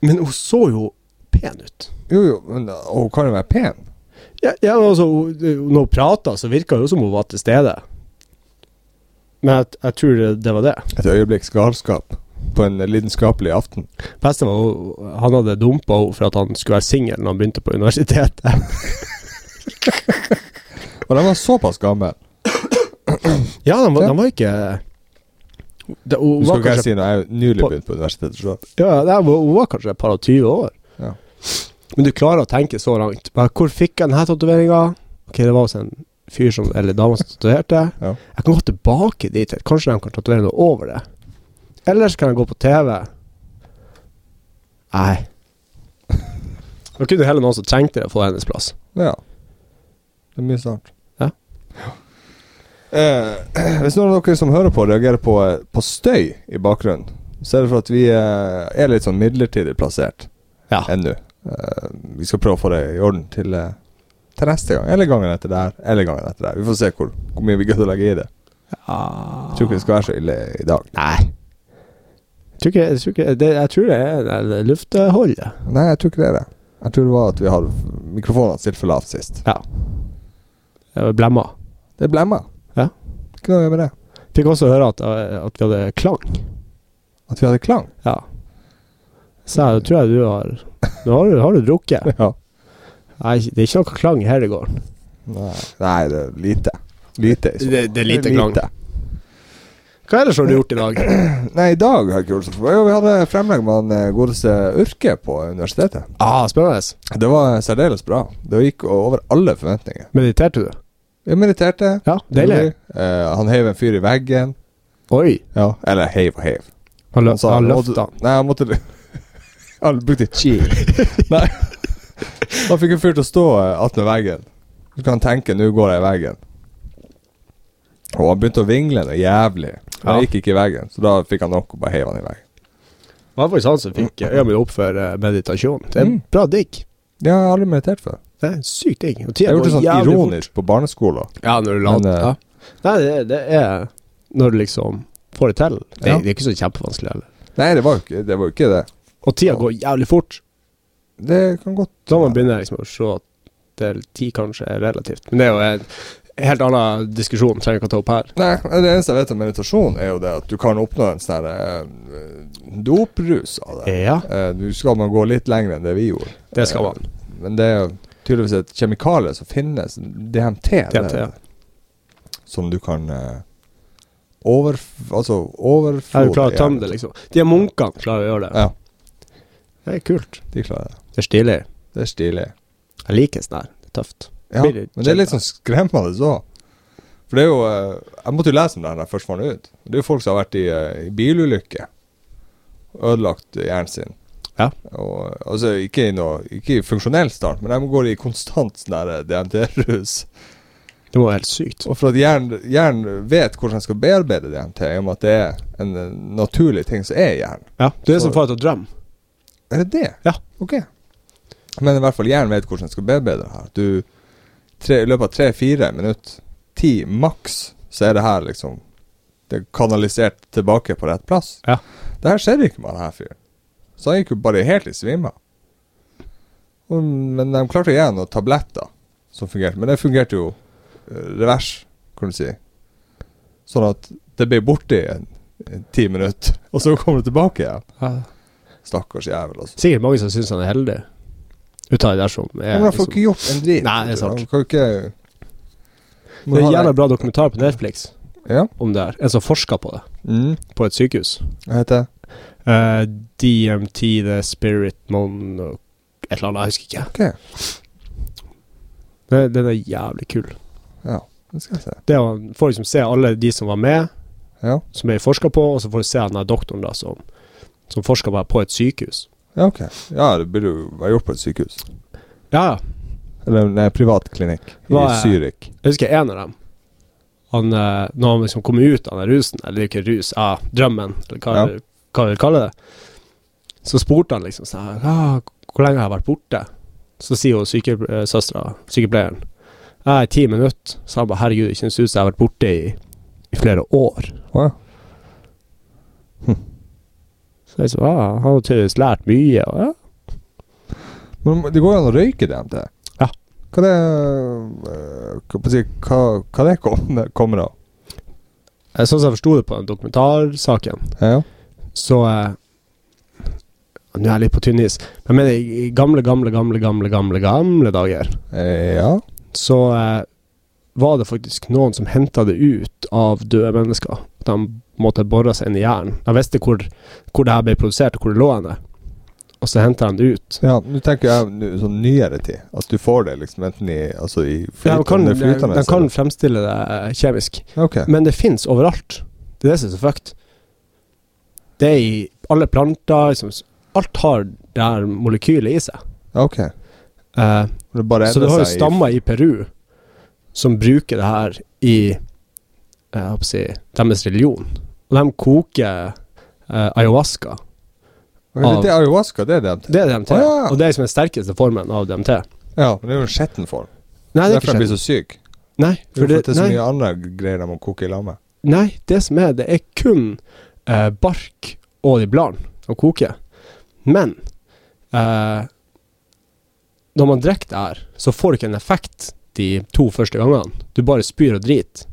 Men hun så jo pen ut. Jo, jo, men uh, hun kan jo være pen. Ja, ja men altså, hun, hun- når hun prata, så virka det jo som hun var til stede. Men jeg, jeg tror det, det var det. Et øyeblikks galskap på en lidenskapelig aften. Beste var hun, han hadde dumpa henne for at han skulle være singel når han begynte på universitetet. Og den var såpass gammel. Ja, de, var- Ja. de var ikke det, hun, var Du skal ikke jeg kanskje, si noe, jeg er jo nylig på- begynt på universitetet sjøl. ja, nei, hun hun var kanskje et par og 20 år. Ja. Men du klarer å tenke så langt. Bare, hvor fikk jeg denne tatoveringa? Ok, det var hos en fyr som, eller dame som tatoverte. Ja. Jeg kan gå tilbake dit. Kanskje de kan tatovere noe over det. Ellers kan jeg gå på TV. Nei. [LAUGHS] Da kunne heller noen som trengte det, få hennes plass. Ja. Det er mye snart. Ja. Eh, [CLEARS THROAT] hvis noen av dere som hører på, reagerer på, eh, på støy i bakgrunnen, så er det for at vi eh, er litt sånn midlertidig plassert Ja. ennå. Eh, vi skal prøve å få det i orden til, eh, til neste gang, eller gangen etter der, eller gangen etter der. Vi får se hvor, hvor mye vi gidder å legge i det. Jeg tror ikke det skal være så ille i dag. Nei. Jeg tror, ikke, jeg, tror ikke, det, jeg tror det er det er luftholdet. Nei, jeg tror ikke det er det. Jeg tror det var at vi hadde mikrofonene stilt for lavt sist. Det var Blemma. Det er blemma. Ja. Ikke noe å gjøre med det. Fikk også høre at, at vi hadde klang. At vi hadde klang. Ja. Så jeg tror jeg du har Nå har du, har du drukket. Ja. Nei, det er ikke noe klang her det går. Nei, Nei det er lite. Lite. i så fall. Det- det er lite klang. Hva ellers har du gjort i dag? Nei, i dag har jeg ikke gjort så Jo, Vi hadde fremlegg med han eh, godeste Urke på universitetet. Ah, Spennende. Det var særdeles bra. Det gikk over alle forventninger. Mediterte du? Jeg mediterte. Ja, deilig. Eh, han heiv en fyr i veggen. Oi. Ja, eller heiv og heiv. Han, lø sa- han måtte- løfta. Nei, han måtte [LAUGHS] Han brukte chi. nei. Han fikk en fyr til å stå eh, attmed veggen. Så kan han tenke 'nå går jeg i veggen'. Og han begynte å vingle noe jævlig. Han Ja. gikk ikke i veggen, så da fikk han nok og bare heiv han i veggen. Det var faktisk han som fikk øya mi opp for eh, meditasjon. Det er Mm. bra digg. Ja, jeg har aldri meditert før. Det er sykt digg. Og Jeg tida har går gjort det sånn jævlig fort. ironisk på barneskolen. Ja, når du Men, later. eh, ja. Nei, det, det er når du liksom får det til. Det, Ja. det er ikke så kjempevanskelig heller. Nei, det var jo ikke det. Var jo ikke det. Og tida går jævlig fort. det kan godt Da man begynner liksom å se at til ti kanskje er relativt. Men det er jo en helt annen diskusjon, trenger ikke å ta opp her. Nei, det eneste jeg vet om meditasjon, er jo det at du kan oppnå en sånn her, eh, doprus av det. Ja, Eh, Nå skal man gå litt lenger enn det vi gjorde. det skal man. Men det er jo tydeligvis et kjemikalie som finnes, DMT, DMT, det, ja. som du kan eh, over, altså Er overflod du klar til å tømme det, liksom? De her munkene klarer å gjøre det. Ja. Det er kult. De klarer det. Det er stilig. Det er stilig. Jeg liker sånn her. Det er tøft. Ja, Blir det men det er litt sånn skremmende så. For det er jo eh, Jeg måtte jo lese om det her da jeg først fant det ut. Det er jo folk som har vært i, eh, i bilulykke. Ødelagt hjernen sin. Ja. Og, altså ikke i noe Ikke i funksjonell stand, men de går i konstant sånn der, eh, DMT-rus. Det må være helt sykt. Og for at hjernen, hjernen vet hvordan den skal bearbeide DMT, i og med at det er en eh, naturlig ting som er i hjernen. Ja, det er Så- som får deg til å drømme. Er det det? Ja. Ok. Men i hvert fall hjernen vet hvordan den skal bearbeide det her. Du, tre, I løpet av tre-fire minutter, ti maks, så er det her liksom Det er kanalisert tilbake på rett plass. Ja. Det her skjedde ikke med denne fyren. Så han gikk jo bare helt i svime. Og- Men de klarte å gi ham noen tabletter som fungerte. Men det fungerte jo eh, revers, kan du si. Sånn at det ble borte i en- en ti minutter, og så kom det tilbake igjen. Stakkars jævel, altså. Sikkert mange som syns han er heldig. Ut av det der som Ja, er men han får liksom, ikke gjort en drit. Nei, det er sant. Han kan jo ikke Det er en jævla bra dokumentar på Netflix Ja. om det her. En som forsker på det, Mm. på et sykehus. Hva heter det? Eh, DMT, The Spirit Mon og et eller annet, jeg husker ikke. Ok, Det- Den er jævlig kul. det skal jeg se. Det å Får liksom se alle de som var med, Ja, som er forska på, og så får du se den der doktoren da som, som forsker på, på et sykehus. ja ok. Ja, det burde jo være gjort på et sykehus. Ja, ja. Eller nei, privat klinikk i Hva er- Zürich. Jeg husker en av dem. Han, eh, når han liksom kom ut av den rusen, eller det er ikke rus, ah, drømmen, eller hva, Ja. hva vi vil kalle det, så spurte han liksom sånn her, ah, Hvor lenge har jeg vært borte? Så sier hun syke, eh, søstera, sykepleieren, «Nei, ti minutter. Så han bare herregud, det kjennes ut som jeg har vært borte i, i flere år. Hm. Wow. Så jeg så, ah, han har tydeligvis lært mye. Og, ja. Men det går jo an å røyke DMT. Ja. Hva det eh, Hva, på å si, hva, hva det kom, [LAUGHS] kommer av? Eh, Sånn som jeg forsto det på den dokumentarsaken, Ja. Så eh, Nå er jeg litt på tynn is. Men jeg mener, i- i gamle, gamle, gamle, gamle, gamle gamle dager, Eh, ja. så eh, var det faktisk noen som henta det ut av døde mennesker. De måtte bore seg inn i hjernen. De visste hvor, hvor det her ble produsert, og hvor det lå henne. Og så henta de det ut. ja Nå tenker jeg nu- sånn nyere tid. At du får det liksom enten i altså i De kan, flytende, flytende de kan eller- fremstille det eh, kjemisk, Ok. men det fins overalt. Det er det som er så fucked. Det er i alle planter liksom, Alt har det her molekylet i seg. ok. Eh, Det bare Så du endrer har jo seg i- stammer i Peru som bruker det her i eh, jeg holdt på å si, deres religion. Og de koker eh, ayahuasca. Ja, Det er ayahuasca, det er DMT. Det er DMT. Å, ja. Og det er liksom den sterkeste formen av DMT. Ja, men det er jo en skjetten form. Nei, det er Derfor ikke jeg blir skjedd. så syk. Nei, Det er for jo det, for at det er så nei, mye andre greier de må koke i lag med. nei, det som er, det er kun eh, bark og de bladene som koker. Men eh, når man drikker det her, så får du ikke en effekt de to første gangene. Du bare spyr og driter.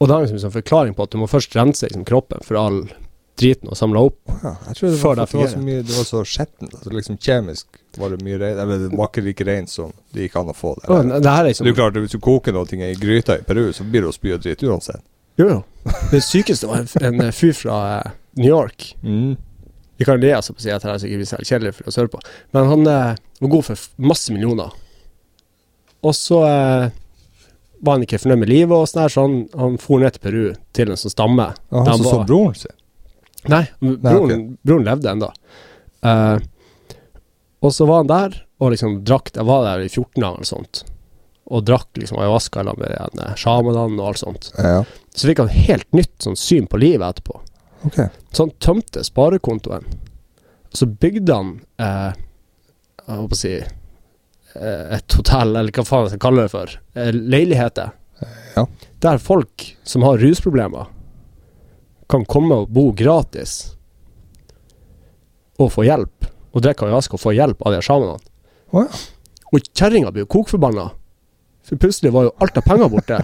Og det er liksom en sånn forklaring på at du må først rense liksom, kroppen for all driten og samle opp. Å ja, jeg tror det Før var, det for det var så fungerer. mye Det var så skjettent. Altså liksom kjemisk var det mye rein Eller det var ikke like reint som det gikk an å få det. Og det her er Så det er liksom jo klart, hvis du koker noe i gryta i Peru, så blir det å spy og dritt uansett. Jo, jo. Det sykeste var en, en fyr fra eh, New York. Mm. Vi kan le altså på å si at her er sikkert vi selv kjedelig for oss å høre på, men han eh, var god for f- masse millioner. Og så eh, var han ikke fornøyd med livet og sånn her, så han, han for ned til Peru, til en sånn stamme. Og Der han som var- så broren sin. Nei, broren, broren levde ennå. og så var han der, og liksom drakk Jeg var der i 14 dager eller sånt, og drakk liksom ayahuasca eller med en, eh, sjamanene og alt sånt. Ja. Så fikk han helt nytt sånn syn på livet etterpå. Ok. Så han tømte sparekontoen. Og så bygde han eh, Jeg holdt på å si eh, et hotell, eller hva faen jeg skal kalle det for. Eh, leiligheter. Ja. Der folk som har rusproblemer, kan komme og bo gratis. Og få hjelp. Og drikke ayahuasca og få hjelp av de her sjamanene. Å Og kjerringa ble jo kokforbanna. For plutselig var jo alt av penger borte.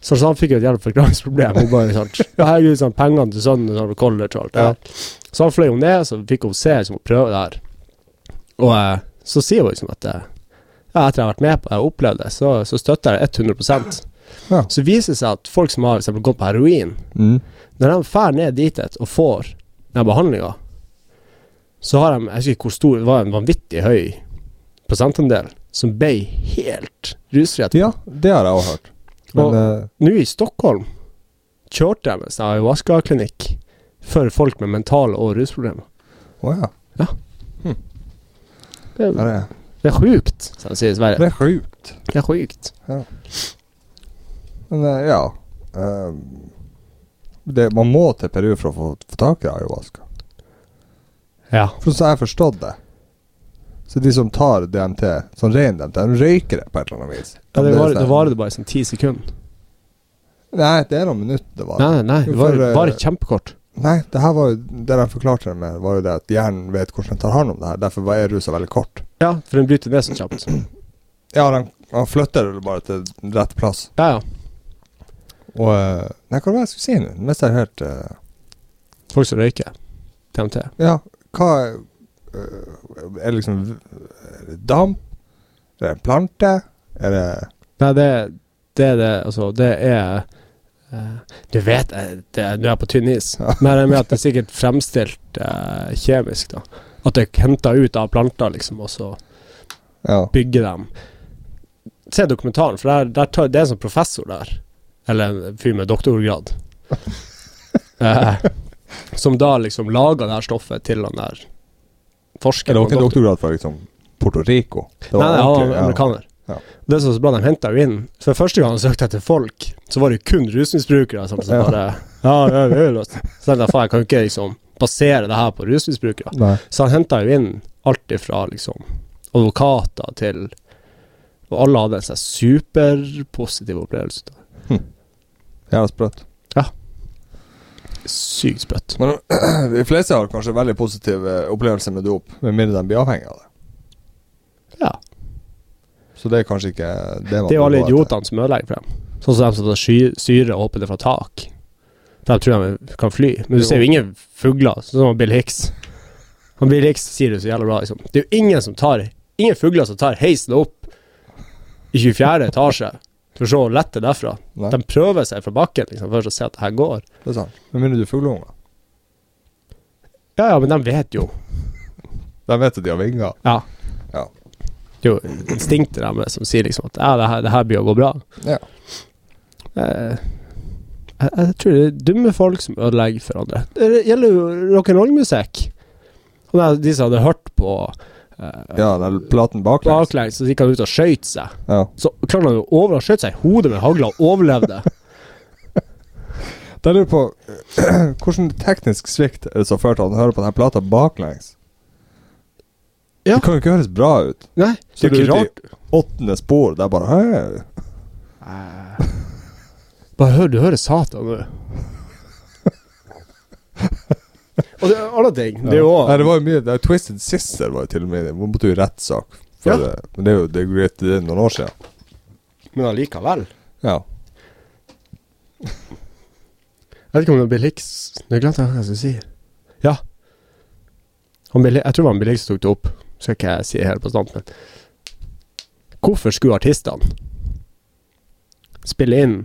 Så han fikk jo et hjelpeforklaringsproblem. Hun bare [LAUGHS] sånn Ja, herregud, sånn, pengene til sønnen sånn, og college og alt det Ja. der. Så han fløy jo ned, så fikk hun se liksom, og prøve det her. Og eh, så sier hun liksom at eh, ja, etter jeg har vært med på det og opplevd det, så, så støtter jeg det 100 Ja. Så viser det seg at folk som har for eksempel, gått på heroin, Mm. når de drar ned dit et og får den behandlinga, så har de Jeg husker ikke hvor stor Det var en vanvittig høy prosentandel som ble helt rusfri. etterpå. Ja, det har jeg òg hørt. Men Og- eh, Nå i Stockholm kjørte jeg med sånn ayahuasca-klinikk for folk med mentale og rusproblemer. Å ja. Det ja. er, Det, det er sjukt, som de sier i det Sverige. er sjukt. Det er sjukt. Men eh, ja eh, det, Man må til Peru for å få, få tak i ayahuasca. Ja. For så har jeg forstått det. Så de som tar DMT, sånn ren DMT, de røyker det på et eller annet vis. det blir varer sånn- det, var det bare sånn ti sekunder. Nei, det er noen minutter det varer. Nei, nei, det var, For, eh, var kjempekort. Nei, det her var jo Det de forklarte det med, var jo det at hjernen vet hvordan den tar hånd om det her. Derfor er rusa veldig kort. Ja, for den bryter ned så kjapt. [CLEARS THROAT] Ja, den, han flytter det bare til rett plass. Ja, ja. Og eh, Nei, hva var det jeg skulle si nå? Mens jeg hørte eh, Folk som røyker. TMT. Ja, hva eh, Er det liksom er det damp? Er det en plante? Er det Nei, det det er det Altså, det er eh, Du vet, eh, det er, nå er jeg på tynn is, Ja. men jeg mener at det er sikkert fremstilt eh, kjemisk, da. At det er henta ut av planter, liksom, og så Ja. bygge dem. Se dokumentaren, for der, der tar, det er en sånn professor der, eller en fyr med doktorgrad, [LAUGHS] eh, som da liksom laga det her stoffet til han der Er det forskeren. var ikke en doktorgrad fra liksom Porto Rico? Det Nei, nei, han ordentlig, var amerikaner. Ja. Det som var så bra, de henta jo inn For første gang han søkte etter folk, så var det jo kun rusmisbrukere som som Ja. bare Ja, ja, vi er jo løst. Så tenkte jeg faen, jeg kan jo ikke liksom basere det her på rusmisbrukere. ja. Nei. Så han henta jo inn alt ifra liksom advokater til Og alle hadde en sånn superpositiv opplevelse. av det. Jævla sprøtt. Sykt sprøtt. Men [CLEARS THROAT] de fleste har kanskje veldig positive opplevelser med dop, med mindre de blir avhengig av det. Ja. Så det er kanskje ikke det man Det er jo bør alle gå etter. idiotene som ødelegger for dem. Sånn som dem som tar sky- syre og hopper ned fra tak. De tror de kan fly. Men du Jo. ser jo ingen fugler, sånn som Bill Hicks. Han Bill Hicks sier det så jævla bra, liksom. Det er jo ingen som tar Ingen fugler som tar heisen opp i 24. etasje, for så å lette derfra. Nei, De prøver seg fra bakken liksom, først og ser at det her går. det er sant. Med mindre du er fugleunger. Ja, ja, men de vet jo. De vet at de har vinger. Ja. Ja. Det er jo instinktet deres som sier liksom at ja, det, her, det her blir å gå bra. Ja. Eh, jeg, jeg tror det er dumme folk som ødelegger for andre. Det gjelder jo rock'n'roll-musikk. Og det er De som hadde hørt på eh, Ja, den platen baklengs. baklengs, så gikk han ut og skøyt seg. Ja. Så klarte han jo å over, han skjøt seg i hodet med hagla og overlevde. Da lurer jeg på [CLEARS THROAT] hvordan teknisk svikt er det som har ført til at han hører på denne plata baklengs? Ja. Det kan jo ikke høres bra ut. [LAUGHS] Nei, det Så er jo du ikke er rart. ute i åttende spor. Det er bare «Hei». Eh, Bare hør, du hører Satan [LAUGHS] nå. Og det er alle ting. Det er jo Nei, det var jo mye det er Twisted Sister var jo til og med Man måtte jo i rettssak. for Ja. det. Men det er jo det er greit, det er noen år siden. Men allikevel. Ja. Jeg vet ikke om det var Bill Hicks Nå glemte jeg hva jeg skulle si. Ja. Han Bill, jeg tror det var han Bill Hicks som tok det opp. Skal ikke jeg si det helt på stand, men Hvorfor skulle artistene spille inn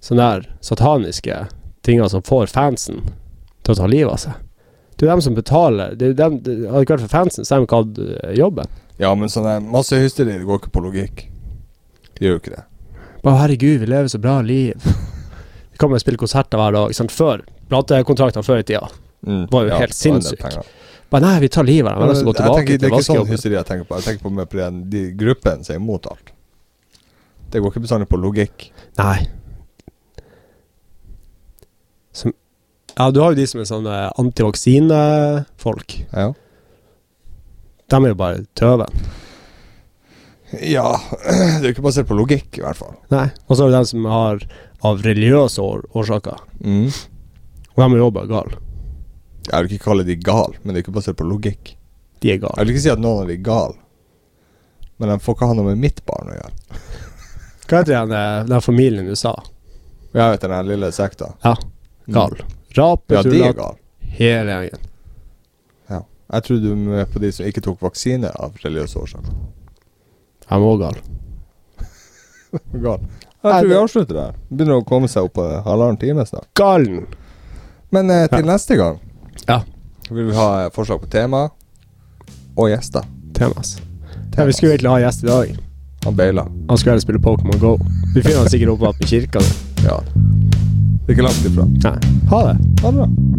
sånne der sataniske tinga som får fansen til å ta livet av seg. Det er jo dem som betaler det er jo dem, det Hadde det ikke vært for fansen, så hadde de ikke hatt eh, jobben. Ja, men sånn der massehysteri, det går ikke på logikk. Det gjør jo ikke det. Bare herregud, vi lever så bra liv. [LAUGHS] Vi kan bare spille konserter hver dag. ikke Sant? Før platekontraktene før i tida. Det var jo helt det var en del sinnssykt. penger. Bare nei, vi tar livet av dem. Vi har Men lyst til å gå jeg tilbake tenker, det til er ikke sånn vaskejobben. hysteri jeg tenker på. Jeg tenker på med på den, de gruppen som er imot alt. Det går ikke bestandig på logikk. Nei. Som Ja, du har jo de som er sånne antivaksinefolk. Ja. De er jo bare tøven. ja. [CLEARS THROAT] Det er jo ikke basert på logikk, i hvert fall. Nei. Og så er det dem som har av religiøse år årsaker. Mm. Og de er jo bare gale. Jeg vil ikke kalle de gal, men det er ikke basert på logikk. De er gale. Jeg vil ikke si at noen av de er gal, men de får ikke ha noe med mitt barn å gjøre. Hva heter den, eh, den familien du sa? Jeg vet den her lille sekta. Ja, gal. Rape, Mm. Ja, de er tullat, gal. hele gjengen. Ja. Jeg tror du er med på de som ikke tok vaksine av religiøse årsaker. De er òg gale. Gal. Jeg Nei, tror vi det- avslutter der. Begynner å komme seg opp på halvannen time snart. Galen! Men eh, til neste gang Ja. vil vi ha eh, forslag på tema og gjester. Temas. Ja, vi skulle egentlig ha gjest i dag. Han beila. Han skulle heller spille Pokémon Go. Vi finner han sikkert oppe i kirka. Ja. Det er ikke langt ifra. Nei. Ha det. Ha det bra.